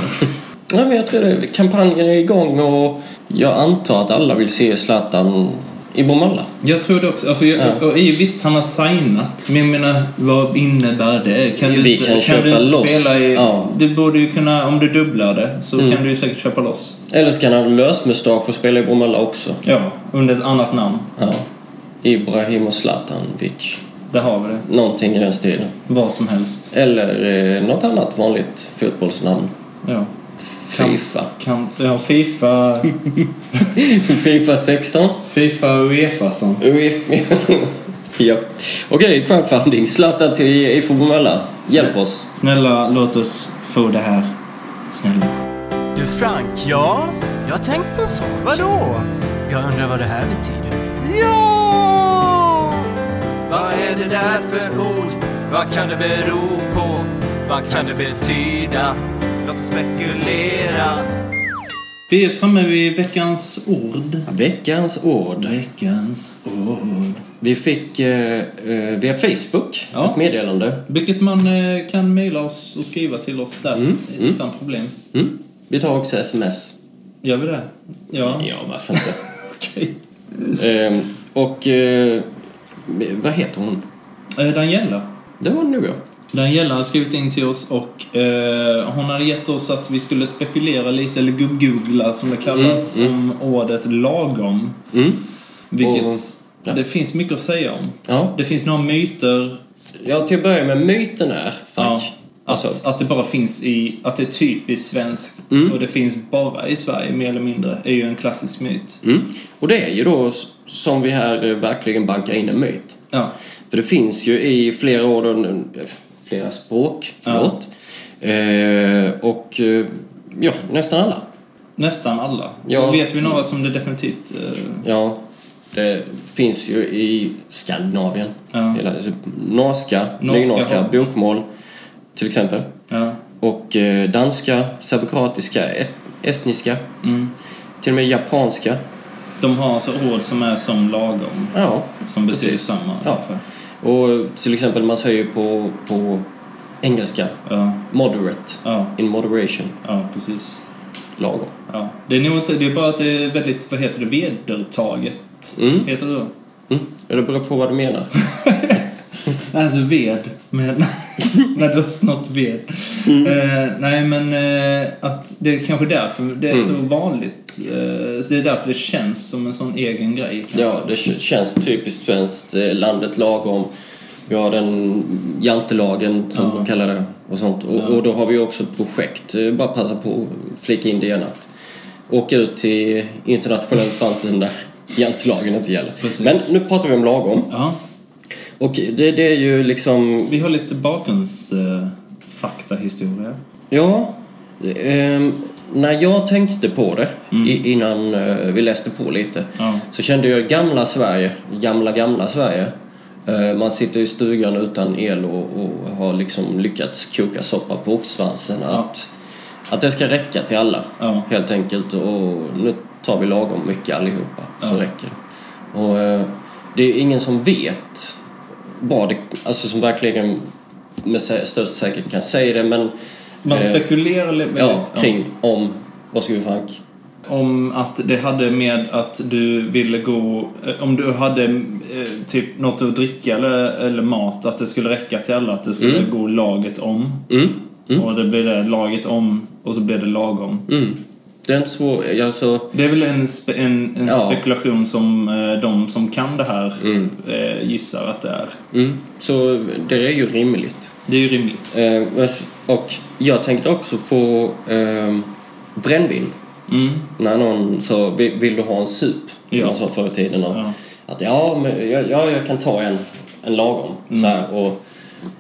[SPEAKER 3] Nej, men jag tror det, kampanjen är igång och jag antar att alla vill se Zlatan i Bromölla.
[SPEAKER 2] Jag tror det också. Ja, För jag,
[SPEAKER 3] Ja.
[SPEAKER 2] och, i- visst, han har signat. Men jag menar, vad innebär det? Kan
[SPEAKER 3] Vi
[SPEAKER 2] du inte,
[SPEAKER 3] kan
[SPEAKER 2] kan
[SPEAKER 3] köpa
[SPEAKER 2] du inte
[SPEAKER 3] loss.
[SPEAKER 2] spela i...
[SPEAKER 3] Ja. Mm.
[SPEAKER 2] Du borde ju kunna, om du dubblar det, så kan du ju säkert köpa loss.
[SPEAKER 3] Eller så kan han ha lösmustasch och spela i Bromölla också.
[SPEAKER 2] Ja, under ett annat namn.
[SPEAKER 3] Ja. Ibrahim och Zlatanovic.
[SPEAKER 2] Där har vi det.
[SPEAKER 3] Någonting i den stilen.
[SPEAKER 2] Vad som helst.
[SPEAKER 3] Eller eh, något annat vanligt fotbollsnamn.
[SPEAKER 2] Ja.
[SPEAKER 3] Fifa.
[SPEAKER 2] Kan, ja, Fifa...
[SPEAKER 3] Fifa 16.
[SPEAKER 2] Fifa Uefa som...
[SPEAKER 3] Uef- ja. Okej, crowdfunding. Zlatan till E IFK Bromölla. Hjälp oss.
[SPEAKER 2] Snälla, låt oss få det här. Snälla.
[SPEAKER 5] Du Frank? Ja?
[SPEAKER 4] Jag har tänkt på en sak.
[SPEAKER 5] Vadå?
[SPEAKER 4] Jag undrar vad det här betyder.
[SPEAKER 5] Ja!
[SPEAKER 4] Vad är det där för ord? Vad kan det bero på? Vad kan det betyda?
[SPEAKER 5] Låt oss spekulera.
[SPEAKER 2] Vi är framme vid veckans ord.
[SPEAKER 3] Veckans ord.
[SPEAKER 2] Veckans ord.
[SPEAKER 3] Vi fick eh, eh, via Facebook
[SPEAKER 2] Ja.
[SPEAKER 3] ett meddelande.
[SPEAKER 2] Vilket man eh, kan mejla oss och skriva till oss där utan problem.
[SPEAKER 3] Mm. Vi tar också sms.
[SPEAKER 2] Gör vi det? Ja.
[SPEAKER 3] Ja, varför inte? Ehm, och eh, vad heter hon?
[SPEAKER 2] Eh, Daniela.
[SPEAKER 3] Det var nu ja.
[SPEAKER 2] Daniela har skrivit in till oss och eh, hon hade gett oss att vi skulle spekulera lite, eller gubb-googla som det kallas, om ordet lagom.
[SPEAKER 3] Mm.
[SPEAKER 2] Vilket
[SPEAKER 3] Och- ja.
[SPEAKER 2] det finns mycket att säga om.
[SPEAKER 3] Ja.
[SPEAKER 2] Det finns några myter
[SPEAKER 3] ja, till att börja med myten är,
[SPEAKER 2] Ja,
[SPEAKER 3] Frank.
[SPEAKER 2] att,
[SPEAKER 3] Alltså, Mm.
[SPEAKER 2] att det bara finns i, att det är typiskt svenskt och det finns bara i Sverige mer eller mindre är ju en klassisk myt.
[SPEAKER 3] mm. Och det är ju då s- som vi här eh, verkligen bankar in en myt.
[SPEAKER 2] Ja,
[SPEAKER 3] För det finns ju i flera ord, flera språk, förlåt. Eh, och eh, ja, nästan alla.
[SPEAKER 2] nästan alla.
[SPEAKER 3] Ja.
[SPEAKER 2] Vet vi några som det definitivt... eh,
[SPEAKER 3] Ja, det finns ju i Skandinavien.
[SPEAKER 2] Ja.
[SPEAKER 3] Hela, alltså, norska,
[SPEAKER 2] Norska
[SPEAKER 3] nynorska,
[SPEAKER 2] har-
[SPEAKER 3] bokmål till exempel.
[SPEAKER 2] ja.
[SPEAKER 3] Och eh, danska, serbokroatiska, et- estniska.
[SPEAKER 2] Mm.
[SPEAKER 3] Till och med japanska.
[SPEAKER 2] De har alltså ord som är som lagom,
[SPEAKER 3] Ja,
[SPEAKER 2] som betyder
[SPEAKER 3] precis.
[SPEAKER 2] samma.
[SPEAKER 3] Ja.
[SPEAKER 2] ungefär.
[SPEAKER 3] Och eh, till exempel man säger ju på, på engelska
[SPEAKER 2] Ja.
[SPEAKER 3] moderate,
[SPEAKER 2] Ja.
[SPEAKER 3] in moderation,
[SPEAKER 2] ja, precis.
[SPEAKER 3] lagom.
[SPEAKER 2] Ja. Det, är nog inte, det är bara att det är väldigt, vad heter det, vedertaget.
[SPEAKER 3] Mm.
[SPEAKER 2] Heter det då?
[SPEAKER 3] Mm. Ja, Det beror på vad du menar.
[SPEAKER 2] Alltså ved, men när du har snott ved.
[SPEAKER 3] Mm.
[SPEAKER 2] Eh, nej, men eh, att det är kanske därför det är
[SPEAKER 3] Mm.
[SPEAKER 2] så vanligt. Eh, så det är därför det känns som en sån egen grej. kanske.
[SPEAKER 3] Ja, det k- känns typiskt svenskt. eh, Landet lagom. Vi har den jantelagen som de kallar det och sånt. Och, och då har vi också projekt. eh, Bara passa på att flika in det igen att åka ut till internationellt vatten där jantelagen inte gäller.
[SPEAKER 2] Precis.
[SPEAKER 3] Men nu pratar vi om lagom.
[SPEAKER 2] Ja,
[SPEAKER 3] Och det, det är ju liksom...
[SPEAKER 2] vi har lite bakgrunds... Eh, faktahistoria.
[SPEAKER 3] Ja. ehm, när jag tänkte på det i, innan eh, vi läste på lite
[SPEAKER 2] Mm. Ja.
[SPEAKER 3] så kände jag gamla Sverige, gamla gamla Sverige. Eh, man sitter i stugan utan el och, och har liksom lyckats koka soppa på oxsvansen. Att, att det ska räcka till alla
[SPEAKER 2] Ja.
[SPEAKER 3] helt enkelt. Och nu tar vi lagom mycket allihopa så räcker det. Och, eh, det är ingen som vet vad det, alltså som verkligen med sä- störst säkerhet kan säga det men
[SPEAKER 2] Man
[SPEAKER 3] eh,
[SPEAKER 2] spekulerar li- väldigt
[SPEAKER 3] ja,
[SPEAKER 2] ja,
[SPEAKER 3] kring om, vad ska vi Frank?
[SPEAKER 2] om att det hade med att du ville gå... eh, Om du hade eh, typ något att dricka eller, eller mat, att det skulle räcka till alla, att det skulle gå laget om.
[SPEAKER 3] Mm.
[SPEAKER 2] Och det blir det laget om och så blir det lagom.
[SPEAKER 3] Mm. Det är inte svårt, alltså
[SPEAKER 2] Det är väl en, spe, en, en
[SPEAKER 3] Ja.
[SPEAKER 2] spekulation som eh, de som kan det här eh, gissar att det är.
[SPEAKER 3] Mm, så det är ju rimligt.
[SPEAKER 2] Det är ju rimligt.
[SPEAKER 3] Eh, men s- och jag tänkte också på eh, brännvin.
[SPEAKER 2] Mm.
[SPEAKER 3] När någon sa, "Vill- vill du ha en sup?
[SPEAKER 2] Ja.
[SPEAKER 3] Man sa förr i tiden. Och,
[SPEAKER 2] Ja.
[SPEAKER 3] Att ja, men, jag, ja, jag kan ta en, en lagom. Så här,
[SPEAKER 2] Mm.
[SPEAKER 3] och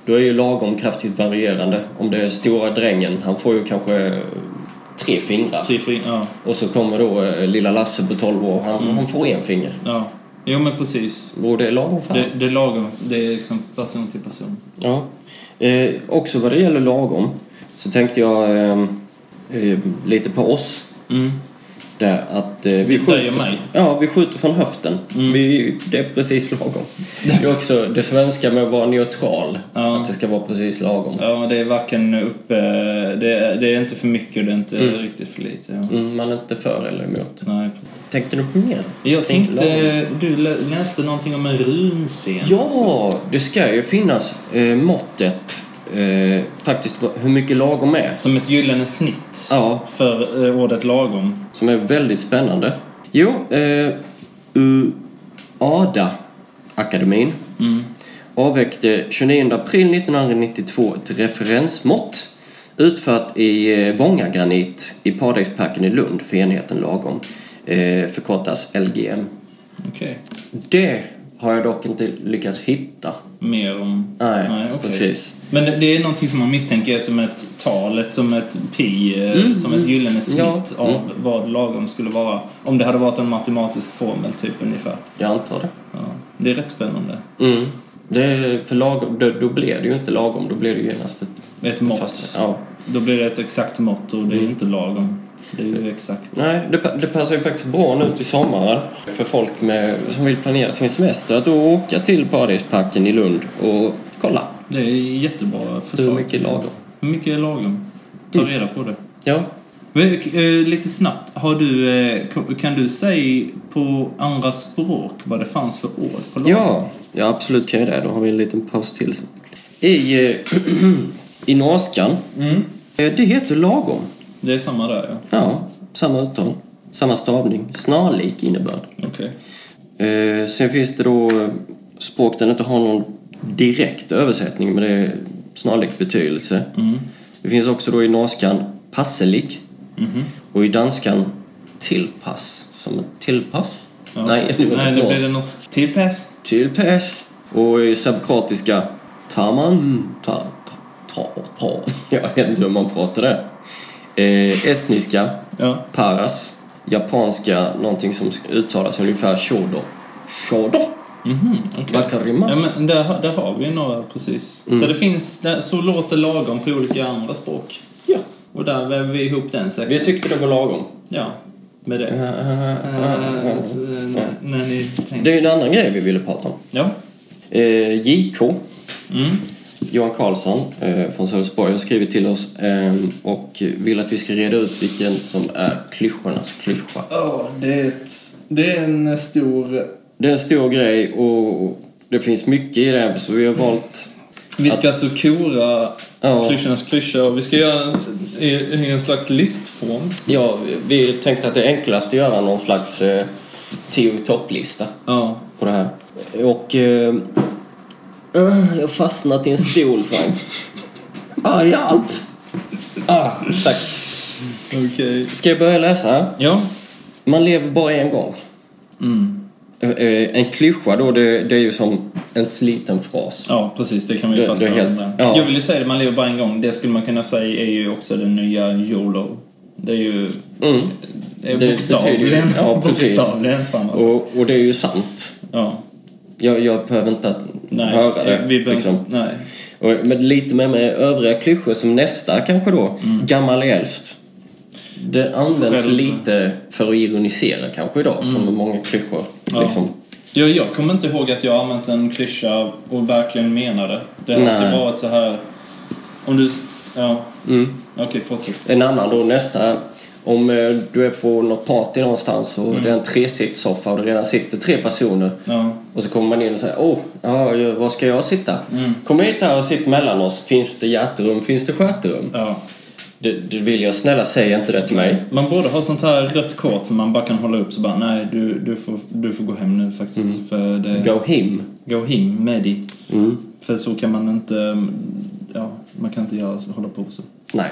[SPEAKER 3] då är ju lagom kraftigt varierande. Om det är stora drängen, han får ju kanske eh, tre fingrar.
[SPEAKER 2] Tre fri, ja.
[SPEAKER 3] Och så kommer då eh, lilla Lasse på 12 år, han,
[SPEAKER 2] Mm.
[SPEAKER 3] han får en finger.
[SPEAKER 2] ja. Jo men precis.
[SPEAKER 3] Vore det lagom för
[SPEAKER 2] Det,
[SPEAKER 3] han?
[SPEAKER 2] det är lagom. Det är liksom person till person.
[SPEAKER 3] Ja. Eh, också vad det gäller lagom så tänkte jag eh, eh, lite ehm, på oss.
[SPEAKER 2] Mm.
[SPEAKER 3] Där att eh, vi,
[SPEAKER 2] Typ dig
[SPEAKER 3] skjuter,
[SPEAKER 2] och mig.
[SPEAKER 3] ja, vi skjuter från höften.
[SPEAKER 2] Mm.
[SPEAKER 3] Vi, det är precis lagom. Det är också det svenska med att vara neutral.
[SPEAKER 2] Ja.
[SPEAKER 3] Att det ska vara precis lagom.
[SPEAKER 2] Ja, det är varken uppe... Det är, det är inte för mycket och det är inte riktigt för lite. Ja.
[SPEAKER 3] Mm, man är inte för eller emot.
[SPEAKER 2] Nej, precis.
[SPEAKER 3] Tänkte du på mer?
[SPEAKER 2] jag
[SPEAKER 3] lagom.
[SPEAKER 2] tänkte... Du lä- läste någonting om en runsten.
[SPEAKER 3] Ja, det ska ju finnas eh, måttet eh, faktiskt vad- hur mycket lagom är.
[SPEAKER 2] Som ett gyllene snitt
[SPEAKER 3] Ja.
[SPEAKER 2] för eh, ordet lagom.
[SPEAKER 3] Som är väldigt spännande. Jo, eh, UADA-akademin avväckte 29 april 1992 ett referensmått utfört i eh, Vångagranit i Paradisparken i Lund för enheten lagom. Eh, förkortas LGM.
[SPEAKER 2] Okej.
[SPEAKER 3] Det har jag dock inte lyckats hitta.
[SPEAKER 2] Mer om...
[SPEAKER 3] Nej,
[SPEAKER 2] okej.
[SPEAKER 3] precis.
[SPEAKER 2] Men det- det är någonting som man misstänker är som ett tal, ett, som ett pi, eh, som ett gyllene snitt
[SPEAKER 3] Mm, Ja. mm.
[SPEAKER 2] av vad lagom skulle vara. Om det hade varit en matematisk formel, typ ungefär.
[SPEAKER 3] Jag antar det.
[SPEAKER 2] Ja. Det är rätt spännande.
[SPEAKER 3] Mm. Det är för lagom, då, då blir det ju inte lagom, då blir det ju genast ett...
[SPEAKER 2] Ett mått.
[SPEAKER 3] fast- Ja. Mm.
[SPEAKER 2] Då blir det ett exakt mått och det är ju inte lagom. Det är ju exakt.
[SPEAKER 3] Nej, det, pa- det passar ju faktiskt bra nu till sommaren för folk med, som vill planera sin semester att då åka till Paradisparken i Lund och kolla
[SPEAKER 2] Det är jättebra förslag.
[SPEAKER 3] hur mycket är lagom. Mm.
[SPEAKER 2] Hur mycket är lagom? Ta reda på det.
[SPEAKER 3] Ja,
[SPEAKER 2] Men, eh, Lite snabbt, har du, eh, ko- kan du säga på andra språk vad det fanns för ord på lagom?
[SPEAKER 3] ja, ja absolut kan jag det. Då har vi en liten paus till. I, eh, i norskan, eh, det heter lagom.
[SPEAKER 2] Det är samma där ja.
[SPEAKER 3] Ja, samma uttal, samma stavning, snarlik innebörd.
[SPEAKER 2] Okej.
[SPEAKER 3] Eh, sen finns det då eh, språk där det inte har någon direkt översättning men det är snarlik betydelse.
[SPEAKER 2] Mm.
[SPEAKER 3] Det finns också då i norskan passelig
[SPEAKER 2] Mm-hmm.
[SPEAKER 3] och i danskan tillpass. Som ett tillpass?
[SPEAKER 2] Ja.
[SPEAKER 3] Nej, det var
[SPEAKER 2] Nej,
[SPEAKER 3] Nej,
[SPEAKER 2] nu blir
[SPEAKER 3] norskt.
[SPEAKER 2] det norsk. Tillpass.
[SPEAKER 3] Tillpass. Och i sabkratiska taman... Ta, ta, ta, ta. Jag vet inte hur man pratar det. Eh, estniska
[SPEAKER 2] Ja.
[SPEAKER 3] paras. Japanska någonting som uttalas ungefär shodo. Shodo.
[SPEAKER 2] Mhm, Okej.
[SPEAKER 3] Bakarimas.
[SPEAKER 2] Ja, men där, har- där har vi ju några precis.
[SPEAKER 3] Mm.
[SPEAKER 2] Så det finns, där, så låter lagom på olika andra språk.
[SPEAKER 3] Ja.
[SPEAKER 2] Och där väver vi ihop den säkert.
[SPEAKER 3] Vi tyckte det var lagom.
[SPEAKER 2] Ja, med det. Eh, så, när, när ni
[SPEAKER 3] Det
[SPEAKER 2] tänker.
[SPEAKER 3] är ju en annan grej vi ville prata om.
[SPEAKER 2] Ja.
[SPEAKER 3] Eh, JK,
[SPEAKER 2] Mm.
[SPEAKER 3] Johan Karlsson eh, från Sölvesborg, har skrivit till oss eh, och vill att vi ska reda ut vilken som är klyschornas klyscha.
[SPEAKER 2] det, är det är en stor...
[SPEAKER 3] Det är en stor grej och det finns mycket i det här så vi har valt...
[SPEAKER 2] Vi ska alltså kora
[SPEAKER 3] Ja.
[SPEAKER 2] klyschornas klyscha och vi ska göra en- i, i en slags listform.
[SPEAKER 3] Ja, vi tänkte att det är enklast att göra någon slags eh, tio topplista
[SPEAKER 2] Ja.
[SPEAKER 3] på det här. Och... Eh, eh, jag har fastnat i en stol, Frank. Ah, hjälp! Ah, tack.
[SPEAKER 2] Okej.
[SPEAKER 3] Ska jag börja läsa? här?
[SPEAKER 2] Ja.
[SPEAKER 3] Man lever bara en gång.
[SPEAKER 2] Mm.
[SPEAKER 3] Eh, eh, En klyscha då, det, det är ju som en sliten fras.
[SPEAKER 2] Ja, precis. Det kan man ju
[SPEAKER 3] Det- det är
[SPEAKER 2] fastställa.
[SPEAKER 3] helt-
[SPEAKER 2] med.
[SPEAKER 3] ja.
[SPEAKER 2] Jag vill ju säga det, man lever bara en gång. Det skulle man kunna säga är ju också den nya YOLO. Det är ju...
[SPEAKER 3] Mm.
[SPEAKER 2] Det är
[SPEAKER 3] Det
[SPEAKER 2] bokstavligen,
[SPEAKER 3] betyder ju- ja, precis.
[SPEAKER 2] bokstavligen samma sak.
[SPEAKER 3] Och, och det är ju sant.
[SPEAKER 2] Ja.
[SPEAKER 3] Jag, jag behöver inte att
[SPEAKER 2] Nej.
[SPEAKER 3] höra det.
[SPEAKER 2] Vi behöver-
[SPEAKER 3] liksom.
[SPEAKER 2] Nej.
[SPEAKER 3] och, men lite mer med övriga klyschor som nästa kanske då. Gammal är äldst. Det används
[SPEAKER 2] Mm. Själv- Mm.
[SPEAKER 3] lite för att ironisera kanske idag, som med många klyschor.
[SPEAKER 2] Ja.
[SPEAKER 3] Liksom.
[SPEAKER 2] Ja, jag kommer inte ihåg att jag har använt en klyscha och verkligen menar det. Det har
[SPEAKER 3] Nej. Mm.
[SPEAKER 2] alltid varit så här... Om du... Ja. Okej, fortsätt.
[SPEAKER 3] En annan då, nästa. Om eh, du är på något party någonstans och det är en tresitssoffa och det redan sitter tre personer.
[SPEAKER 2] Mm. Ja.
[SPEAKER 3] Och så kommer man in och säger åh, ja, ja, var ska jag sitta?
[SPEAKER 2] Mm.
[SPEAKER 3] Kom hit här och sitt mellan oss. Finns det hjärterum? Finns det stjärterum?
[SPEAKER 2] ja. Mm.
[SPEAKER 3] Det, det vill jag. Snälla säg inte det till mig.
[SPEAKER 2] Man borde ha ett sånt här rött kort som man bara kan hålla upp så bara nej, du, du, får, du får gå hem nu faktiskt. För det...
[SPEAKER 3] Mm. Go Mm. him.
[SPEAKER 2] Go him, Medi. För så kan man inte... mm, Ja, man kan inte göra, så- hålla på så.
[SPEAKER 3] Nej.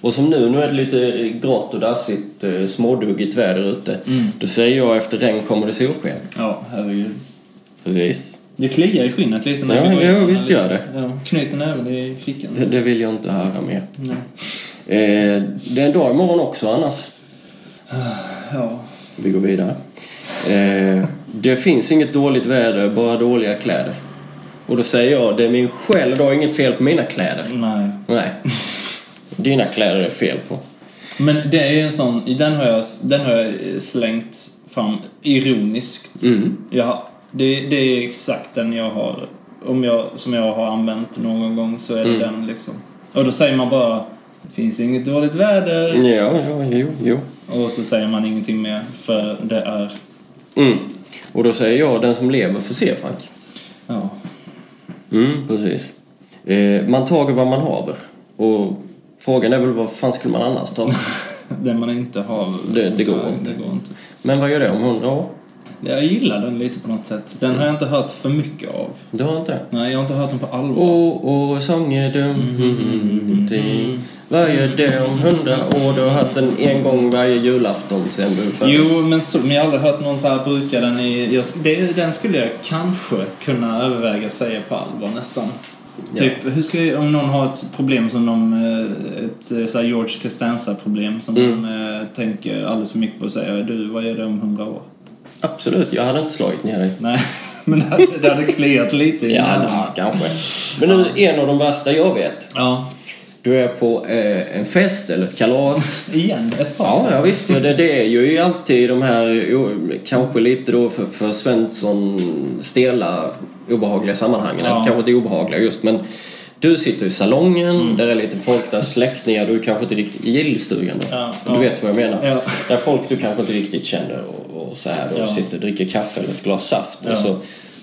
[SPEAKER 3] Och som nu, nu är det lite grått och dassigt, eh, småduggigt väder ute. Då säger jag efter regn kommer det solsken.
[SPEAKER 2] Ja, herregud.
[SPEAKER 3] Precis.
[SPEAKER 2] Det kliar i skinnet lite när
[SPEAKER 3] Ja,
[SPEAKER 2] vi går
[SPEAKER 3] ja,
[SPEAKER 2] in.
[SPEAKER 3] visst gör det.
[SPEAKER 2] Ja, knyter näven i fickan.
[SPEAKER 3] Det, det vill jag inte höra mer. Eh, det är en dag imorgon också annars.
[SPEAKER 2] Ja.
[SPEAKER 3] Vi går vidare. Eh, det finns inget dåligt väder, bara dåliga kläder. Och då säger jag, det är min själ och då är inget fel på mina kläder.
[SPEAKER 2] Nej.
[SPEAKER 3] Nej. Dina kläder är fel på.
[SPEAKER 2] Men det är ju en sån, i den har jag, den har jag slängt fram ironiskt.
[SPEAKER 3] Mm.
[SPEAKER 2] Ja, det, det är exakt den jag har, om jag, som jag har använt någon gång så är det
[SPEAKER 3] Mm.
[SPEAKER 2] den liksom. Och då säger man bara det finns inget dåligt väder
[SPEAKER 3] Ja, ja, jo, jo.
[SPEAKER 2] och så säger man ingenting mer för det är,
[SPEAKER 3] Mm. Och då säger jag den som lever får se, Frank.
[SPEAKER 2] ja.
[SPEAKER 3] Mm, precis. Eh, man tager vad man haver. Och frågan är väl vad fan skulle man annars ta?
[SPEAKER 2] Den man inte har.
[SPEAKER 3] Det- det går
[SPEAKER 2] Nej,
[SPEAKER 3] inte.
[SPEAKER 2] Det går inte.
[SPEAKER 3] Men vad gör det om hundra år?
[SPEAKER 2] Jag gillar den lite på något sätt. Den har jag inte hört för mycket av.
[SPEAKER 3] Du har inte det?
[SPEAKER 2] Nej, jag har inte hört den på allvar.
[SPEAKER 3] Åh, åh, sång är dum mm, ting. Vad gör det om hundra år? Du har haft den en gång varje julafton sen du föddes.
[SPEAKER 2] Jo, men, så, men jag har aldrig hört någon så här bruka den i... Jag, sk- det, den skulle jag kanske kunna överväga säga på allvar nästan. Typ, hur ska jag, om någon har ett problem som de... eh, Ett eh, så här George Costanza-problem som
[SPEAKER 3] Mm.
[SPEAKER 2] de eh, tänker alldeles för mycket på och säger du, vad gör du om hundra år?
[SPEAKER 3] Absolut, jag hade inte slagit ner dig.
[SPEAKER 2] Nej, men det hade, det hade kliat lite i
[SPEAKER 3] Ja,
[SPEAKER 2] hjärnan.
[SPEAKER 3] ja, kanske. Men nu, en av de värsta jag vet.
[SPEAKER 2] ja.
[SPEAKER 3] Du är på eh, en fest eller ett kalas.
[SPEAKER 2] Igen, ett par. typ,
[SPEAKER 3] Ja, ja visst. Ja, det, det är ju alltid de här, jo, kanske lite då för, för Svensson, stela, obehagliga sammanhangen.
[SPEAKER 2] Ja.
[SPEAKER 3] Kanske inte obehagliga just, men du sitter i salongen, där är lite folk, där släktingar du kanske inte riktigt... I gillstugan då?
[SPEAKER 2] Ja,
[SPEAKER 3] du
[SPEAKER 2] ja.
[SPEAKER 3] vet vad jag menar.
[SPEAKER 2] Ja.
[SPEAKER 3] Där folk du kanske inte riktigt känner och, och så här då,
[SPEAKER 2] Ja.
[SPEAKER 3] sitter och dricker kaffe eller ett glas saft.
[SPEAKER 2] Ja.
[SPEAKER 3] Och så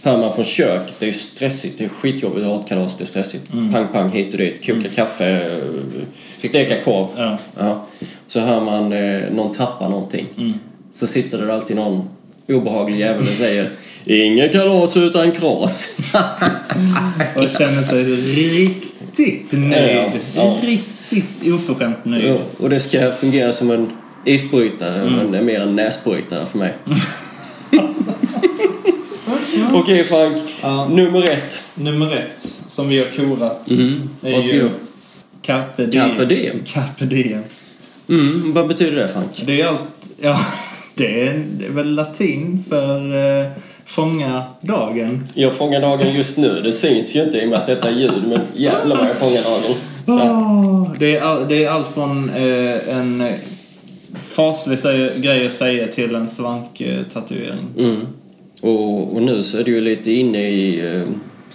[SPEAKER 3] hör man från köket, det är stressigt, det är skitjobbigt att ha ett kalas, det är stressigt.
[SPEAKER 2] Mm.
[SPEAKER 3] Pang, pang, hit och dit, koka kaffe, steka korv.
[SPEAKER 2] Ja.
[SPEAKER 3] Ja. Så hör man eh, någon tappa någonting.
[SPEAKER 2] Mm.
[SPEAKER 3] Så sitter det alltid någon obehaglig jävel och säger Inget kalas utan kras.
[SPEAKER 2] Och känner sig riktigt nöjd.
[SPEAKER 3] Ja, ja.
[SPEAKER 2] Riktigt oförskämt nöjd.
[SPEAKER 3] Ja, och det ska fungera som en isbrytare,
[SPEAKER 2] Mm.
[SPEAKER 3] men det är mer en näsbrytare för mig. Okej Frank,
[SPEAKER 2] Ja.
[SPEAKER 3] nummer ett.
[SPEAKER 2] Nummer ett, som vi har korat, är
[SPEAKER 3] Vad ska
[SPEAKER 2] ju
[SPEAKER 3] jag?
[SPEAKER 2] Carpe diem.
[SPEAKER 3] Carpe diem.
[SPEAKER 2] Carpe diem.
[SPEAKER 3] Mm, vad betyder det Frank?
[SPEAKER 2] Det är allt... Ja, det är, det är väl latin för eh, fånga dagen.
[SPEAKER 3] Jag fångar dagen just nu. Det syns ju inte i och med att detta är ljud, men jävlar vad jag fångar dagen. Så här.
[SPEAKER 2] Åh, Ah, det, är all, det är allt från eh, en eh, faslig säg- grej att säga till en svanktatuering.
[SPEAKER 3] Mm. Och, och nu så är det ju lite inne i eh,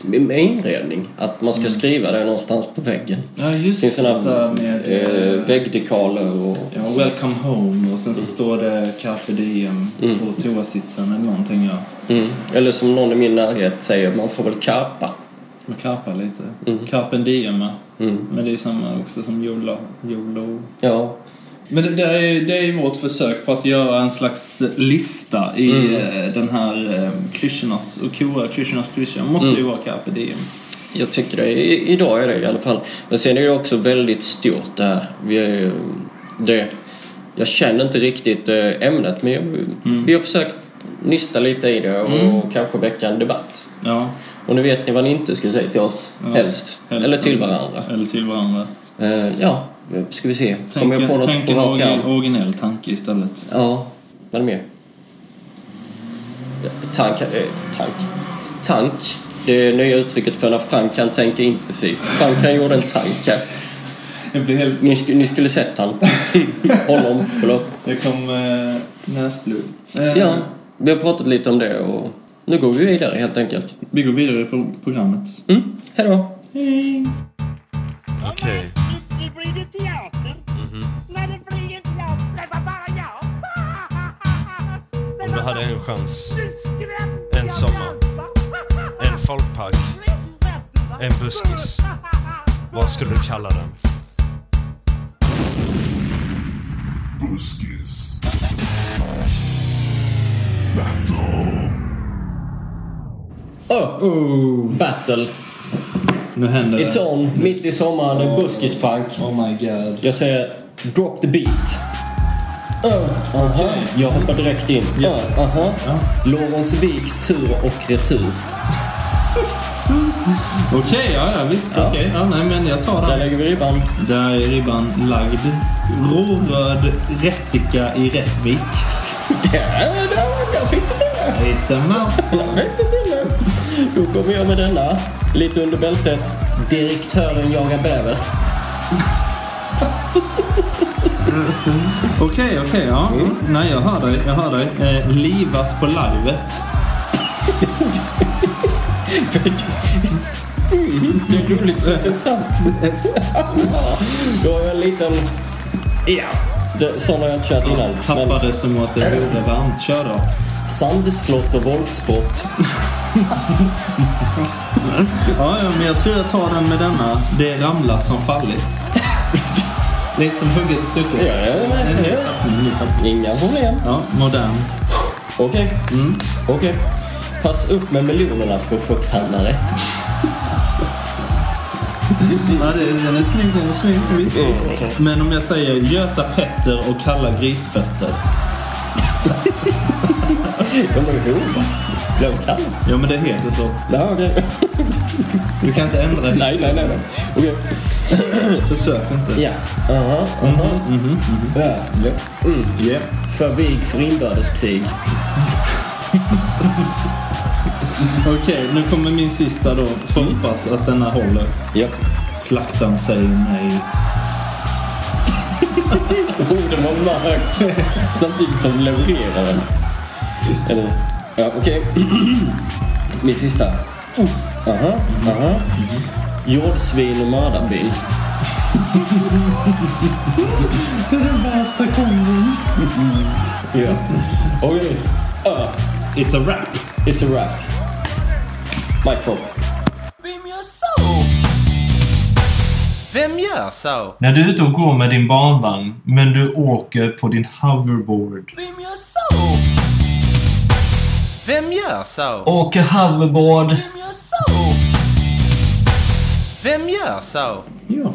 [SPEAKER 3] med inredning. Att man ska skriva det någonstans på väggen.
[SPEAKER 2] Ja,
[SPEAKER 3] Det
[SPEAKER 2] just
[SPEAKER 3] finns
[SPEAKER 2] det. Så här
[SPEAKER 3] sådana
[SPEAKER 2] Mm. med...
[SPEAKER 3] eh,
[SPEAKER 2] eh, Mm.
[SPEAKER 3] väggdekaler och...
[SPEAKER 2] Ja, welcome home och sen så står det carpe diem på toasitsen eller någonting ja.
[SPEAKER 3] Mm. Eller som någon i min närhet säger, man får väl karpa.
[SPEAKER 2] Man karpar lite.
[SPEAKER 3] Mm.
[SPEAKER 2] Carpe diem ja. Men det är ju samma också som YOLO. YOLO.
[SPEAKER 3] Ja.
[SPEAKER 2] Men det, det, är, det är ju vårt försök på att göra en slags lista i
[SPEAKER 3] Mm.
[SPEAKER 2] eh, den här eh, klyschornas och kora klyschornas klyscha. Måste
[SPEAKER 3] Mm.
[SPEAKER 2] ju vara carpe diem.
[SPEAKER 3] Jag tycker det. I, idag är det i alla fall. Men sen är det också väldigt stort det här. Vi är, ju- det, jag känner inte riktigt eh, ämnet men jag, vi har försökt nysta lite i det och, kanske väcka en debatt.
[SPEAKER 2] Ja.
[SPEAKER 3] Och nu vet ni vad ni inte ska säga till oss,
[SPEAKER 2] Ja.
[SPEAKER 3] helst. Eller till varandra.
[SPEAKER 2] Eller till varandra.
[SPEAKER 3] Eh, ja, ska vi se.
[SPEAKER 2] Tänk,
[SPEAKER 3] Kommer jag på något
[SPEAKER 2] tänk
[SPEAKER 3] på
[SPEAKER 2] en
[SPEAKER 3] rak arm?
[SPEAKER 2] orgi- originell tanke istället.
[SPEAKER 3] Ja, vad är det mer? Ja, Tank, eh, tank. Tank. Det är nya uttrycket för när Frank kan tänka intensivt. Frank han gjorde en tank här.
[SPEAKER 2] Det blir helt...
[SPEAKER 3] Ni, sk- ni skulle sett han. Honom, förlåt.
[SPEAKER 2] Det kom eh, näsblod. Eh,
[SPEAKER 3] Ja, vi har pratat lite om det och nu går vi vidare helt enkelt.
[SPEAKER 2] Vi går vidare på programmet.
[SPEAKER 3] Mm, hejdå.
[SPEAKER 5] Okej. Mhm.
[SPEAKER 6] Nu blir det teater. När det blir en teater, det var bara jag.
[SPEAKER 5] Om du hade en chans,
[SPEAKER 6] Nu skrämde
[SPEAKER 5] En
[SPEAKER 6] jag
[SPEAKER 5] sommar.
[SPEAKER 6] Bamsa.
[SPEAKER 5] en folkpark, en buskis. vad skulle du kalla den?
[SPEAKER 7] Buskis. Battle.
[SPEAKER 3] Oh, battle.
[SPEAKER 2] Nu händer
[SPEAKER 3] It's
[SPEAKER 2] det.
[SPEAKER 3] on. Mitt i sommaren. Oh. Buskis Frank.
[SPEAKER 2] Oh my god.
[SPEAKER 3] Jag säger drop the beat. Uh, aha. Jag hoppar direkt in. Uh, aha. Lorensvik tur och retur.
[SPEAKER 2] Okej, ja, ja visst.
[SPEAKER 3] Ja.
[SPEAKER 2] Okej, ja, nej men jag tar
[SPEAKER 3] Där
[SPEAKER 2] den.
[SPEAKER 3] lägger vi ribban.
[SPEAKER 2] Där är ribban lagd. Råröd rättika i Rättvik.
[SPEAKER 3] Där, där, där fick du det.
[SPEAKER 2] It's a mouthful.
[SPEAKER 3] Där fick du det. Då kommer jag med denna. Lite under bältet. Direktören jagar bäver.
[SPEAKER 2] Okej, okej, ja. Nej, jag hör dig. Jag hör dig. Eh, livat på livet.
[SPEAKER 3] Det är roligt för det är sant. Då har jag en liten... Ja. Det, sån har jag inte kört innan. Men
[SPEAKER 2] Tappade som åt det vore varmt. Kör då.
[SPEAKER 3] sandslott och våldsport.
[SPEAKER 2] Ja, ja, men jag tror jag tar den med denna. Det är ramlat som fallit. Lite som hugget stucket.
[SPEAKER 3] Ja, ja, ja, Inga problem.
[SPEAKER 2] Mm, Ja, modern.
[SPEAKER 3] Okej. Mm. Okej. Pass upp med miljonerna för fukthandlare.
[SPEAKER 2] Ja, det, den är snygg, den är snygg. Visst, visst. Men om jag säger Göta Petter och Kalla Grisfötter.
[SPEAKER 3] De är hovar. De kan.
[SPEAKER 2] Ja, men det heter så.
[SPEAKER 3] Ja, okej.
[SPEAKER 2] Du kan inte ändra det.
[SPEAKER 3] Nej, nej, nej. nej. Okej.
[SPEAKER 2] Försök inte.
[SPEAKER 3] Ja. Aha, aha. Ja.
[SPEAKER 2] Yeah.
[SPEAKER 3] mhm, Mm. För vig för inbördeskrig.
[SPEAKER 2] Okej, nu kommer min sista då. Får hoppas att denna håller.
[SPEAKER 3] Ja.
[SPEAKER 2] Slaktan säger nej.
[SPEAKER 3] Oh, den var mörk. Samtidigt som levererar den. Eller? Ja, okej. Min sista. Oh. Aha, aha. Jordsvin och mördarbil.
[SPEAKER 2] Bästa kombon.
[SPEAKER 3] Ja. Okej. Ja,
[SPEAKER 2] It's a wrap.
[SPEAKER 3] It's a wrap. Mic drop.
[SPEAKER 4] Vem gör så? Vem gör så?
[SPEAKER 2] När du är ute och går med din barnvagn, men du åker på din hoverboard.
[SPEAKER 4] Vem gör så? Vem gör så?
[SPEAKER 8] Åker hoverboard.
[SPEAKER 4] Vem gör så? Vem gör så?
[SPEAKER 2] Ja.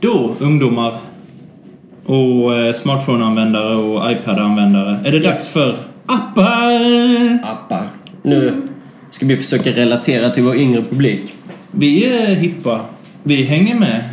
[SPEAKER 2] Då, ungdomar och eh, smartphone-användare och iPad-användare, är det dags för appar!
[SPEAKER 3] Appar. Nu ska vi försöka relatera till vår yngre publik.
[SPEAKER 2] Vi är hippa. Vi hänger med.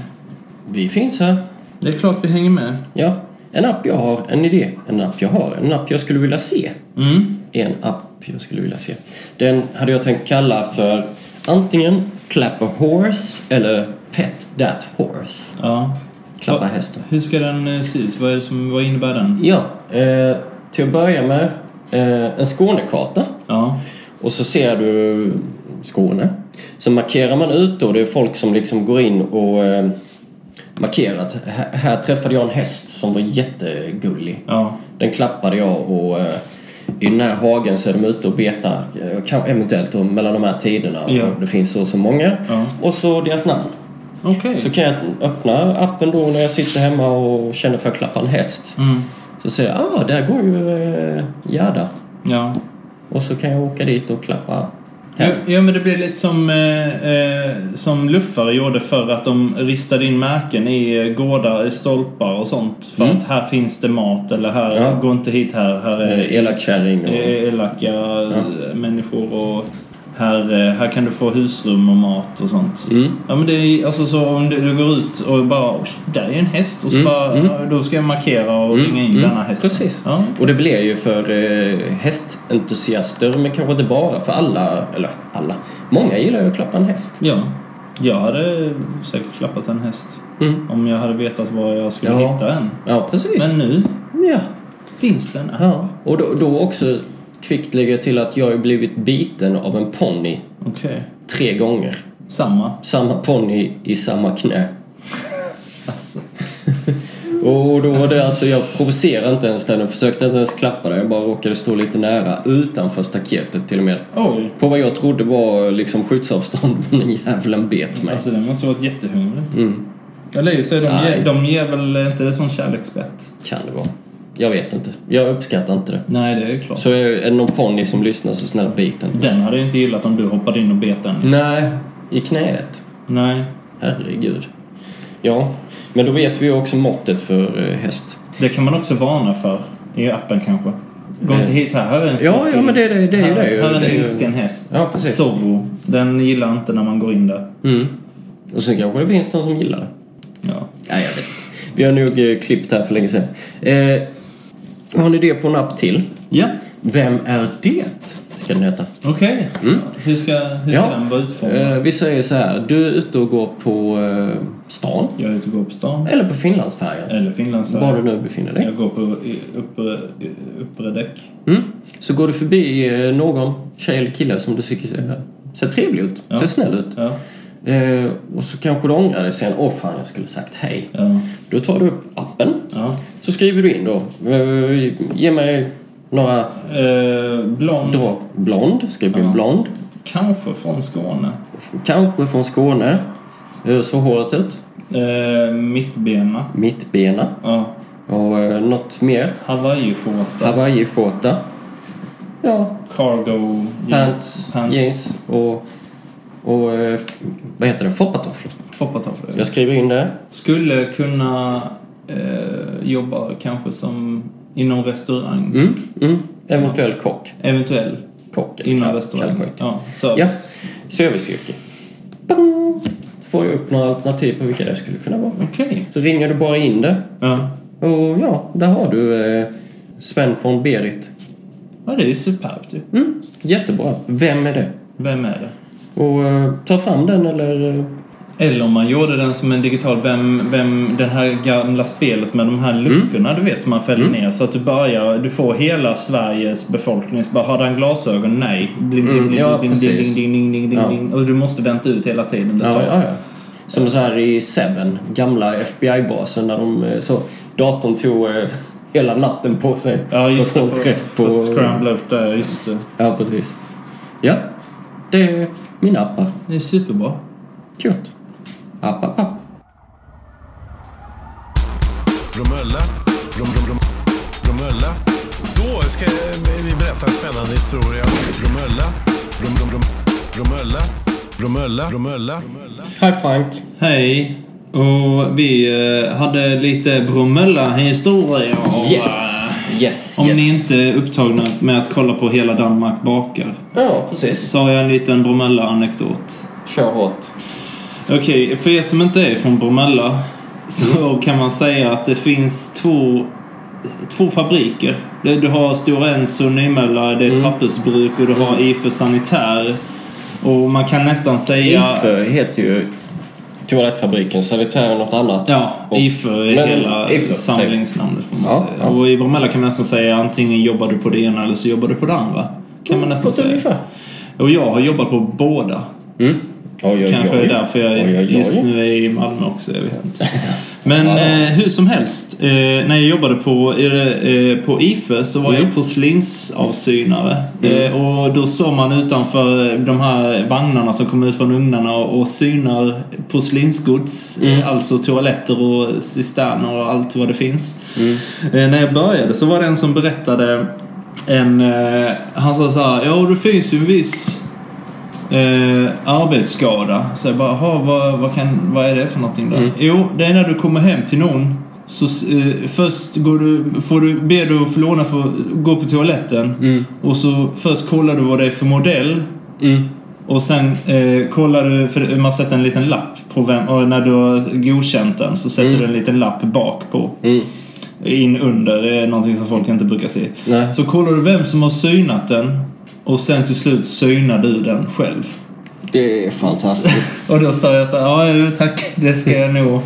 [SPEAKER 3] Vi finns här.
[SPEAKER 2] Det är klart vi hänger med.
[SPEAKER 3] Ja. En app jag har, en idé. En app jag har, en app jag skulle vilja se.
[SPEAKER 2] Mm.
[SPEAKER 3] En app jag skulle vilja se. Den hade jag tänkt kalla för antingen Clap a Horse eller Pet That Horse.
[SPEAKER 2] Ja.
[SPEAKER 3] Klappa
[SPEAKER 2] Ja.
[SPEAKER 3] hästen.
[SPEAKER 2] Hur ska den eh, se ut? Vad, är det som, vad innebär den?
[SPEAKER 3] Ja, eh, till att börja med eh, en Skånekarta.
[SPEAKER 2] Ja.
[SPEAKER 3] Och så ser du Skåne. Så markerar man ut då, det är folk som liksom går in och eh, markerar att här, här träffade jag en häst som var jättegullig.
[SPEAKER 2] Ja.
[SPEAKER 3] Den klappade jag och eh, i den här hagen så är de ute och betar eh, kan- eventuellt då, mellan de här tiderna.
[SPEAKER 2] Ja.
[SPEAKER 3] Och det finns så och så många.
[SPEAKER 2] Ja.
[SPEAKER 3] Och så deras namn.
[SPEAKER 2] Okej.
[SPEAKER 3] Så kan jag öppna appen då när jag sitter hemma och känner för att klappa en häst.
[SPEAKER 2] Mm.
[SPEAKER 3] Så säger jag, ah där går ju eh, Gerda.
[SPEAKER 2] Ja.
[SPEAKER 3] Och så kan jag åka dit och klappa
[SPEAKER 2] Ja,
[SPEAKER 3] henne.
[SPEAKER 2] ja, men det blir lite som, eh, eh, som luffare gjorde förr. Att de ristade in märken i eh, gårdar, i stolpar och sånt. För att här finns det mat eller här,
[SPEAKER 3] Mm. Ja.
[SPEAKER 2] gå inte hit här. Här
[SPEAKER 3] Eh,
[SPEAKER 2] är
[SPEAKER 3] Elak kärring och...
[SPEAKER 2] eh, elaka eh, människor och här, eh, här kan du få husrum och mat och sånt.
[SPEAKER 3] Mm.
[SPEAKER 2] Ja men det är alltså så om du, du går ut och bara "Oj, där är en häst
[SPEAKER 3] Mm.
[SPEAKER 2] och så bara, "Ja, då ska jag markera och ringa in denna häst.
[SPEAKER 3] Precis.
[SPEAKER 2] Ja.
[SPEAKER 3] Och det blir ju för eh, hästentusiaster, men kanske inte bara för alla. Eller alla. Många gillar ju att klappa en häst.
[SPEAKER 2] ja. Jag hade säkert klappat en häst.
[SPEAKER 3] Mm.
[SPEAKER 2] Om jag hade vetat var jag skulle
[SPEAKER 3] Ja.
[SPEAKER 2] hitta en.
[SPEAKER 3] Ja, precis.
[SPEAKER 2] Men nu
[SPEAKER 3] Ja.
[SPEAKER 2] finns den här.
[SPEAKER 3] ja. Och då, då också kvickt lägger jag till att jag har ju blivit biten av en ponny
[SPEAKER 2] Okej.
[SPEAKER 3] tre gånger.
[SPEAKER 2] Samma.
[SPEAKER 3] Samma ponny i samma knä.
[SPEAKER 2] Alltså.
[SPEAKER 3] Och då var det alltså, jag provocerade inte ens den och försökte inte ens klappa den. Jag bara råkade stå lite nära utanför staketet till och med.
[SPEAKER 2] Oj.
[SPEAKER 3] På vad jag trodde var liksom skyddsavstånd, men den jävlen bet mig.
[SPEAKER 2] Alltså den måste ha varit jättehungrig. Eller ju sig, de,
[SPEAKER 3] Mm. Nej.
[SPEAKER 2] ger, de ger väl inte det som kärleksbett?
[SPEAKER 3] Kan det vara. Jag vet inte. Jag uppskattar inte det.
[SPEAKER 2] Nej, det är klart.
[SPEAKER 3] Så är är det någon ponny som lyssnar så snälla bit den.
[SPEAKER 2] Den hade jag inte gillat om du hoppade in och bet den.
[SPEAKER 3] Nej, i knäet.
[SPEAKER 2] Nej,
[SPEAKER 3] Herregud. Ja, men då vet vi ju också måttet för eh, häst.
[SPEAKER 2] det kan man också varna för i appen kanske. Gå
[SPEAKER 3] Eh.
[SPEAKER 2] inte hit här, här är en
[SPEAKER 3] Ja, ja, men det, det, det är ju
[SPEAKER 2] här,
[SPEAKER 3] det. ju.
[SPEAKER 2] Här är
[SPEAKER 3] Det är
[SPEAKER 2] en
[SPEAKER 3] ju-
[SPEAKER 2] ilsken häst.
[SPEAKER 3] Ja, precis.
[SPEAKER 2] Zorro. Den gillar inte när man går in där.
[SPEAKER 3] Mm. Och sen kanske det finns någon som gillar det.
[SPEAKER 2] Ja.
[SPEAKER 3] Nej, jag vet inte. Vi har nog eh, klippt här för länge sedan. Eh, har ni det på en app till?
[SPEAKER 2] Ja,
[SPEAKER 3] Vem är det? Ska den heta.
[SPEAKER 2] okej.
[SPEAKER 3] Mm.
[SPEAKER 2] Hur ska, hur ska den vara utformad?
[SPEAKER 3] eh, vi säger så här. Du är ute och går på eh, stan.
[SPEAKER 2] Jag är ute och går på stan.
[SPEAKER 3] Eller på Finlandsfärjan.
[SPEAKER 2] Eller
[SPEAKER 3] Var Eh. du
[SPEAKER 2] Finlandsfärjan.
[SPEAKER 3] nu befinner dig.
[SPEAKER 2] Jag går på i- uppre, i- uppre däck.
[SPEAKER 3] Mm. Så går du förbi eh, någon tjej eller kille som du tycker ser, ser trevlig ut, ser snäll ut.
[SPEAKER 2] Ja.
[SPEAKER 3] Eh, och så kanske du ångrar dig sen. Åh fan, jag skulle sagt hej.
[SPEAKER 2] Ja.
[SPEAKER 3] Då tar du upp appen.
[SPEAKER 2] ja.
[SPEAKER 3] Så skriver du in då. eh, Ge mig några
[SPEAKER 2] Eh, blond.
[SPEAKER 3] drag. Blond. Skriv in blond.
[SPEAKER 2] Kanske från Skåne.
[SPEAKER 3] Kanske från Skåne. Hur såg håret ut?
[SPEAKER 2] Eh, mittbena.
[SPEAKER 3] Mittbena.
[SPEAKER 2] Ja.
[SPEAKER 3] Och eh, något mer?
[SPEAKER 2] Hawaii-skjorta.
[SPEAKER 3] Hawaii-skjorta. Ja,
[SPEAKER 2] Cargo.
[SPEAKER 3] pants,
[SPEAKER 2] Pants.
[SPEAKER 3] jeans och, och eh, vad heter det? Foppatofflor.
[SPEAKER 2] Foppatofflor.
[SPEAKER 3] Jag skriver in det.
[SPEAKER 2] Skulle kunna eh, jobba kanske som inom restaurang.
[SPEAKER 3] Mm, mm. Eventuell kock.
[SPEAKER 2] Eventuell.
[SPEAKER 3] Kock. eller
[SPEAKER 2] Inom
[SPEAKER 3] kall-
[SPEAKER 2] restaurang.
[SPEAKER 3] kallsjuk.
[SPEAKER 2] Ja,
[SPEAKER 3] Ja,
[SPEAKER 2] service.
[SPEAKER 3] serviceyrke. Bang! Så får jag upp några alternativ på vilka det skulle kunna vara.
[SPEAKER 2] Okej.
[SPEAKER 3] Så ringer du bara in det.
[SPEAKER 2] Ja.
[SPEAKER 3] Och ja, där har du eh, Sven från Berit.
[SPEAKER 2] ja, det är superbt ju.
[SPEAKER 3] Mm, jättebra. Vem är det?
[SPEAKER 2] Vem är det?
[SPEAKER 3] Och eh, ta fram den eller... Eh,
[SPEAKER 2] Eller om man gjorde den som en digital, vem, vem, den här gamla spelet med de här
[SPEAKER 3] Mm.
[SPEAKER 2] luckorna du vet som man fäller ner. Så att du börjar, du får hela Sveriges befolkning. Så bara, har den glasögon? Nej. Bling, bling, bling,
[SPEAKER 3] Mm, ja,
[SPEAKER 2] bling, bling,
[SPEAKER 3] precis.
[SPEAKER 2] bling, bling, bling, bling, bling. Och du måste vänta ut hela tiden det
[SPEAKER 3] ja,
[SPEAKER 2] tar.
[SPEAKER 3] ja, ja. Som så här i Seven, gamla FBI-basen där de... eh, Så datorn tog eh, hela natten på sig.
[SPEAKER 2] Ja, just
[SPEAKER 3] för
[SPEAKER 2] det.
[SPEAKER 3] att få
[SPEAKER 2] För,
[SPEAKER 3] en träff på...
[SPEAKER 2] för scrambla upp där, just det.
[SPEAKER 3] Ja, precis. Ja, det är mina appar.
[SPEAKER 2] Det är superbra.
[SPEAKER 3] Coolt. App, app, app.
[SPEAKER 8] Bromölla. Brom, brom, brom. Bromölla. Då ska jag- eh, vi berätta en spännande historia. Bromölla. Brom, brom, brom. Bromölla. Bromölla. Bromölla.
[SPEAKER 3] Hej Frank.
[SPEAKER 2] Hej. Och vi eh, hade lite Bromölla-historia. och,
[SPEAKER 3] Yes.
[SPEAKER 2] eh,
[SPEAKER 3] Yes,
[SPEAKER 2] Om
[SPEAKER 3] yes.
[SPEAKER 2] ni inte är upptagna med att kolla på Hela Danmark bakar.
[SPEAKER 3] Ja, precis.
[SPEAKER 2] Så har jag en liten Bromölla-anekdot.
[SPEAKER 3] Kör hårt.
[SPEAKER 2] Okej, för er som inte är från Bromölla så kan man säga att det finns två, två fabriker. Du, du har Stora Enso och Nymölla, det är ett
[SPEAKER 3] Mm.
[SPEAKER 2] pappersbruk och du har IFÖ Sanitär. Och man kan nästan säga...
[SPEAKER 3] IFÖ heter ju toalettfabriken, sanitär och något annat.
[SPEAKER 2] Ja,
[SPEAKER 3] Och-
[SPEAKER 2] IFÖ är
[SPEAKER 3] Men
[SPEAKER 2] hela
[SPEAKER 3] IFÖ,
[SPEAKER 2] samlingsnamnet får man
[SPEAKER 3] Ja,
[SPEAKER 2] säga.
[SPEAKER 3] ja.
[SPEAKER 2] Och i Bromölla kan man nästan säga antingen jobbar du på det ena eller så jobbar du på det andra. Kan man nästan
[SPEAKER 3] Mm, på ett
[SPEAKER 2] säga.
[SPEAKER 3] ungefär.
[SPEAKER 2] Och jag har jobbat på båda.
[SPEAKER 3] Mm. Oj, oj, oj.
[SPEAKER 2] Kanske är därför jag
[SPEAKER 3] Oj, oj, oj.
[SPEAKER 2] just nu är i Malmö också, jag vet inte. Men eh, hur som helst, eh, när jag jobbade på, i det, eh, på IFE så var jag porslinsavsynare.
[SPEAKER 3] Mm.
[SPEAKER 2] Eh, och då står man utanför eh, de här vagnarna som kommer ut från ugnarna och, och synar porslinsgods.
[SPEAKER 3] Mm.
[SPEAKER 2] Eh, alltså toaletter och cisterner och allt vad det finns.
[SPEAKER 3] Mm.
[SPEAKER 2] Eh, när jag började så var det en som berättade en, eh, han sa så här, ja det finns ju en viss Eh, arbetsskada. Så jag bara, "Jaha, vad, vad, kan, vad är det för någonting då? Jo, det är när du kommer hem till någon. Så eh, först går du, får du, ber du att få låna för att gå på toaletten. Och så först kollar du vad det är för modell.
[SPEAKER 3] Mm.
[SPEAKER 2] Och sen eh, kollar du, för man sätter en liten lapp på vem, och när du har godkänt den så sätter du en liten lapp bak på. In under, det är någonting som folk inte brukar se.
[SPEAKER 3] Nej.
[SPEAKER 2] Så kollar du vem som har synat den och sen till slut synar du den själv.
[SPEAKER 3] Det är fantastiskt.
[SPEAKER 2] Och då sa jag så här, ja jo, tack, det ska jag nog.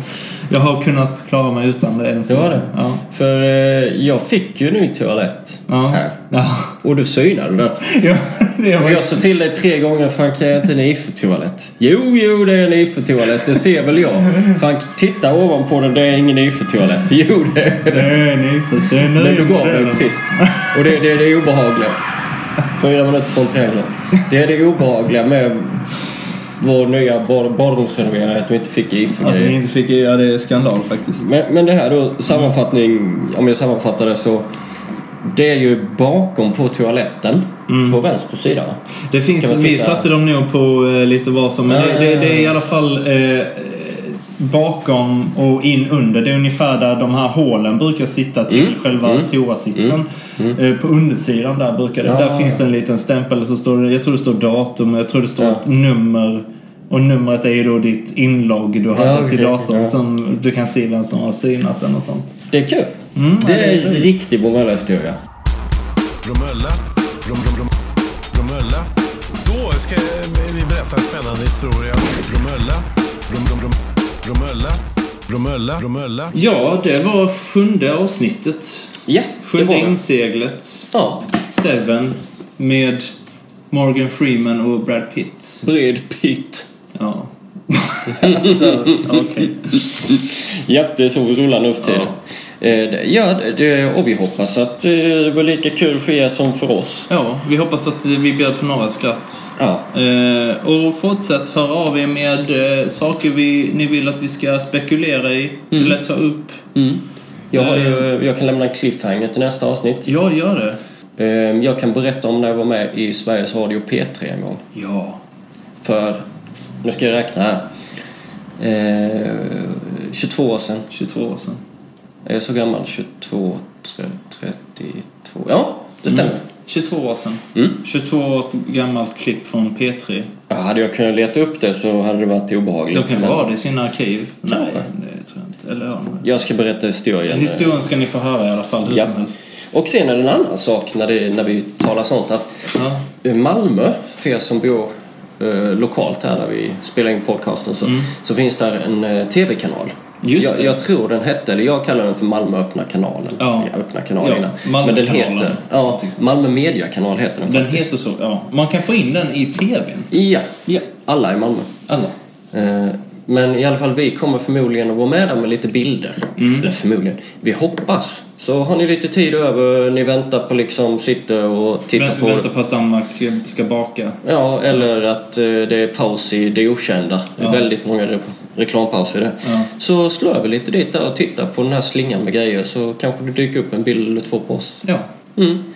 [SPEAKER 2] Jag har kunnat klara mig utan det än så
[SPEAKER 3] Det var det.
[SPEAKER 2] Ja.
[SPEAKER 3] För eh, jag fick ju en ny toalett
[SPEAKER 2] Ja.
[SPEAKER 3] här.
[SPEAKER 2] Ja.
[SPEAKER 3] Och du synade den.
[SPEAKER 2] ja. Det
[SPEAKER 3] Och
[SPEAKER 2] var...
[SPEAKER 3] Äh. jag sa till dig tre gånger, Frank, är inte en IFÖ-toalett? Jo, jo, det är en IFÖ-toalett, det ser väl jag. Frank, titta ovanpå den, det är ingen IFÖ-toalett. Jo, det är det.
[SPEAKER 2] Det är nyfiket. Det är nya
[SPEAKER 3] Men du gav
[SPEAKER 2] modellen.
[SPEAKER 3] den sist. Och det, det är det obehagliga. Fyra minuter från trailern. Det är det obehagliga med vår nya bad, badrumsrenovering, att vi inte fick
[SPEAKER 2] Att ni
[SPEAKER 3] IFÖ-grejer.
[SPEAKER 2] inte fick göra det är skandal faktiskt.
[SPEAKER 3] Men, men det här då, sammanfattning, om jag sammanfattar det så. Det är ju bakom på toaletten,
[SPEAKER 2] Mm.
[SPEAKER 3] på vänster sida. va?
[SPEAKER 2] Det finns,
[SPEAKER 3] Kan man
[SPEAKER 2] vi
[SPEAKER 3] titta?
[SPEAKER 2] satte dem nog på eh, lite vad som... Men
[SPEAKER 3] Ja,
[SPEAKER 2] det,
[SPEAKER 3] ja,
[SPEAKER 2] det,
[SPEAKER 3] ja.
[SPEAKER 2] det är i alla fall eh, eh, bakom och in under. Det är ungefär där de här hålen brukar sitta till
[SPEAKER 3] Mm,
[SPEAKER 2] själva toasitsen. Eh, på undersidan där brukar det...
[SPEAKER 3] Ja,
[SPEAKER 2] där
[SPEAKER 3] ja,
[SPEAKER 2] finns det en liten stämpel. Så står det, jag tror det står datum och jag tror det står ett nummer. Och numret är ju då ditt inlogg du hade till
[SPEAKER 3] okej,
[SPEAKER 2] datorn.
[SPEAKER 3] ja.
[SPEAKER 2] Som du kan se vem som har synat den och sånt.
[SPEAKER 3] Det är kul. Det är en riktig Bromölla-historia.
[SPEAKER 8] Bromölla. Brom, brom, brom. Bromölla. eh, Då ska jag- vi berätta en spännande historia. Bromölla. Brom, brom, brom. Bromölla, Bromölla, Bromölla.
[SPEAKER 2] Ja, det var sjunde avsnittet.
[SPEAKER 3] Ja, det var
[SPEAKER 2] Sjunde
[SPEAKER 3] det.
[SPEAKER 2] inseglet.
[SPEAKER 3] Ja,
[SPEAKER 2] Seven. Med Morgan Freeman och Brad Pitt.
[SPEAKER 3] bred pitt.
[SPEAKER 2] Ja. alltså, okej.
[SPEAKER 3] Ja, det är så vi rullar nu för tiden. Eh, det- Ja, det- det, och vi hoppas att eh, det var lika kul för er som för oss.
[SPEAKER 2] Ja, vi hoppas att vi bjöd på några skratt.
[SPEAKER 3] Ja,
[SPEAKER 2] Eh, och fortsätt höra av er med eh, saker vi, ni vill att vi ska spekulera i eller ta upp.
[SPEAKER 3] jag, har ju, jag kan lämna en cliffhanger till nästa avsnitt.
[SPEAKER 2] Ja, gör det.
[SPEAKER 3] Eh, Jag kan berätta om när jag var med i Sveriges Radio P3 en gång.
[SPEAKER 2] Ja.
[SPEAKER 3] För, nu ska jag räkna här. Eh, 22 år sedan.
[SPEAKER 2] 22 år sedan.
[SPEAKER 3] Är jag så gammal? 22, 32... Ja, det stämmer.
[SPEAKER 2] 22 år sedan. 22 år gammalt klipp från P3.
[SPEAKER 3] Ja, hade jag kunnat leta upp det så hade det varit obehagligt.
[SPEAKER 2] De kan
[SPEAKER 3] men
[SPEAKER 2] ju ha det i sina arkiv. Nej,
[SPEAKER 3] Kanske.
[SPEAKER 2] det tror jag inte. Eller ja.
[SPEAKER 3] Jag ska berätta historien.
[SPEAKER 2] Historien ska ni få höra i alla fall hur
[SPEAKER 3] Ja.
[SPEAKER 2] som helst.
[SPEAKER 3] Och sen är det en annan sak när, det, när vi talar sånt att
[SPEAKER 2] Ja.
[SPEAKER 3] eh, Malmö, för er som bor eh, lokalt här där vi spelar in podcasten så, så finns där en eh, tv-kanal.
[SPEAKER 2] Mm. Just
[SPEAKER 3] jag,
[SPEAKER 2] det.
[SPEAKER 3] jag tror den hette, eller jag kallar den för Malmö öppna kanalen.
[SPEAKER 2] Ja.
[SPEAKER 3] Jag öppna kanalen
[SPEAKER 2] Ja,
[SPEAKER 3] innan.
[SPEAKER 2] Malmö
[SPEAKER 3] Men den
[SPEAKER 2] kanalen.
[SPEAKER 3] heter, ja, Malmö media kanal heter den,
[SPEAKER 2] Den
[SPEAKER 3] faktiskt.
[SPEAKER 2] heter så. Ja. Man kan få in den i TVn.
[SPEAKER 3] Ja,
[SPEAKER 2] Ja.
[SPEAKER 3] alla i Malmö.
[SPEAKER 2] Alla.
[SPEAKER 3] Eh, Men i alla fall, vi kommer förmodligen att vara med där med lite bilder.
[SPEAKER 2] Mm.
[SPEAKER 3] Eller förmodligen. Vi hoppas. Så har ni lite tid över, ni väntar på liksom, sitter och tittar
[SPEAKER 2] Vä-
[SPEAKER 3] på...
[SPEAKER 2] vänta på att Danmark eh, ska baka.
[SPEAKER 3] Ja, eller att eh, det är paus i det okända. Det är
[SPEAKER 2] Ja.
[SPEAKER 3] väldigt många re- reklampauser i det.
[SPEAKER 2] Ja.
[SPEAKER 3] Så slå över lite dit där och titta på den här slingan med grejer så kanske det dyker upp en bild eller två på oss. Mm.
[SPEAKER 2] Ja.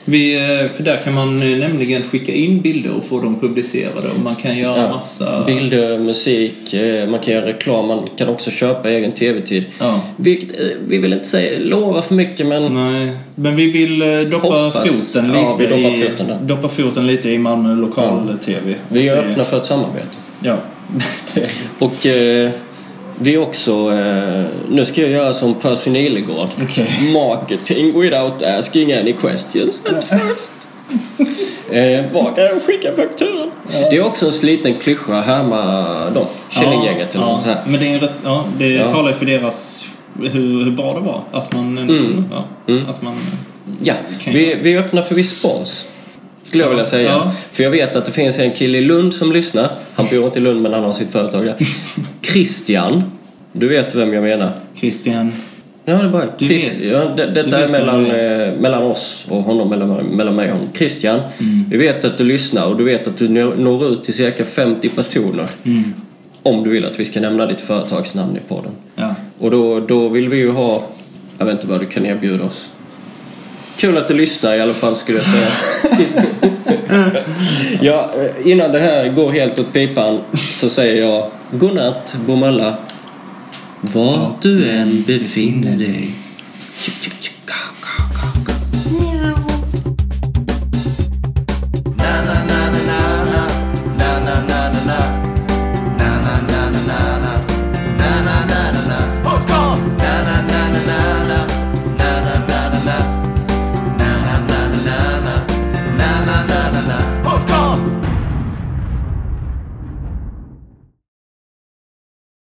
[SPEAKER 2] Vi, eh, för där kan man eh, nämligen skicka in bilder och få dem publicerade och man kan göra massa...
[SPEAKER 3] Bilder, musik, eh, man kan göra reklam, man kan också köpa egen tv-tid.
[SPEAKER 2] Ja.
[SPEAKER 3] Vilket, eh, vi vill inte säga, lova för mycket men
[SPEAKER 2] Nej, men vi vill eh, doppa
[SPEAKER 3] Hoppas.
[SPEAKER 2] foten lite
[SPEAKER 3] Ja, vi doppar
[SPEAKER 2] i,
[SPEAKER 3] foten där.
[SPEAKER 2] doppa foten lite i Malmö lokal-tv.
[SPEAKER 3] vi är
[SPEAKER 2] Se-
[SPEAKER 3] öppna för ett samarbete.
[SPEAKER 2] Ja.
[SPEAKER 3] Och eh, vi är också... Eh, nu ska jag göra som Percy Nilegård.
[SPEAKER 2] Okej.
[SPEAKER 3] Marketing without asking any questions at first. eh, var kan jag skicka fakturan? Det är också en sliten klyscha att härma dem. Killinggänget eller
[SPEAKER 2] ja,
[SPEAKER 3] något sånt här.
[SPEAKER 2] Men det, är rätt, ja, det
[SPEAKER 3] Ja.
[SPEAKER 2] talar ju för deras... Hur, hur bra det var. Att man...
[SPEAKER 3] Mm.
[SPEAKER 2] Ja, Att man
[SPEAKER 3] Ja,
[SPEAKER 2] Kan
[SPEAKER 3] vi, vi öppnar för respons. Skulle jag vilja säga.
[SPEAKER 2] Ja.
[SPEAKER 3] För jag vet att det finns en kille i Lund som lyssnar. Han bor inte i Lund men han har sitt företag där. Christian. Du vet vem jag menar.
[SPEAKER 2] Christian...
[SPEAKER 3] Ja, det är bara
[SPEAKER 2] Du
[SPEAKER 3] Christ-
[SPEAKER 2] vet.
[SPEAKER 3] ja, det,
[SPEAKER 2] Du
[SPEAKER 3] Detta
[SPEAKER 2] vet
[SPEAKER 3] är mellan,
[SPEAKER 2] vem du
[SPEAKER 3] eh, mellan oss och honom, mellan, mellan mig och honom. Christian,
[SPEAKER 2] Mm.
[SPEAKER 3] vi vet att du lyssnar och du vet att du når, når ut till cirka 50 personer.
[SPEAKER 2] Mm.
[SPEAKER 3] Om du vill att vi ska nämna ditt företagsnamn i podden.
[SPEAKER 2] Ja.
[SPEAKER 3] Och då, då vill vi ju ha... Jag vet inte vad du kan erbjuda oss. Kul att du lyssnar i alla fall skulle jag säga. ja, eh, innan det här går helt åt pipan så säger jag godnatt Bromölla. Vart du än befinner dig. Tjuk, tjuk, tjuk.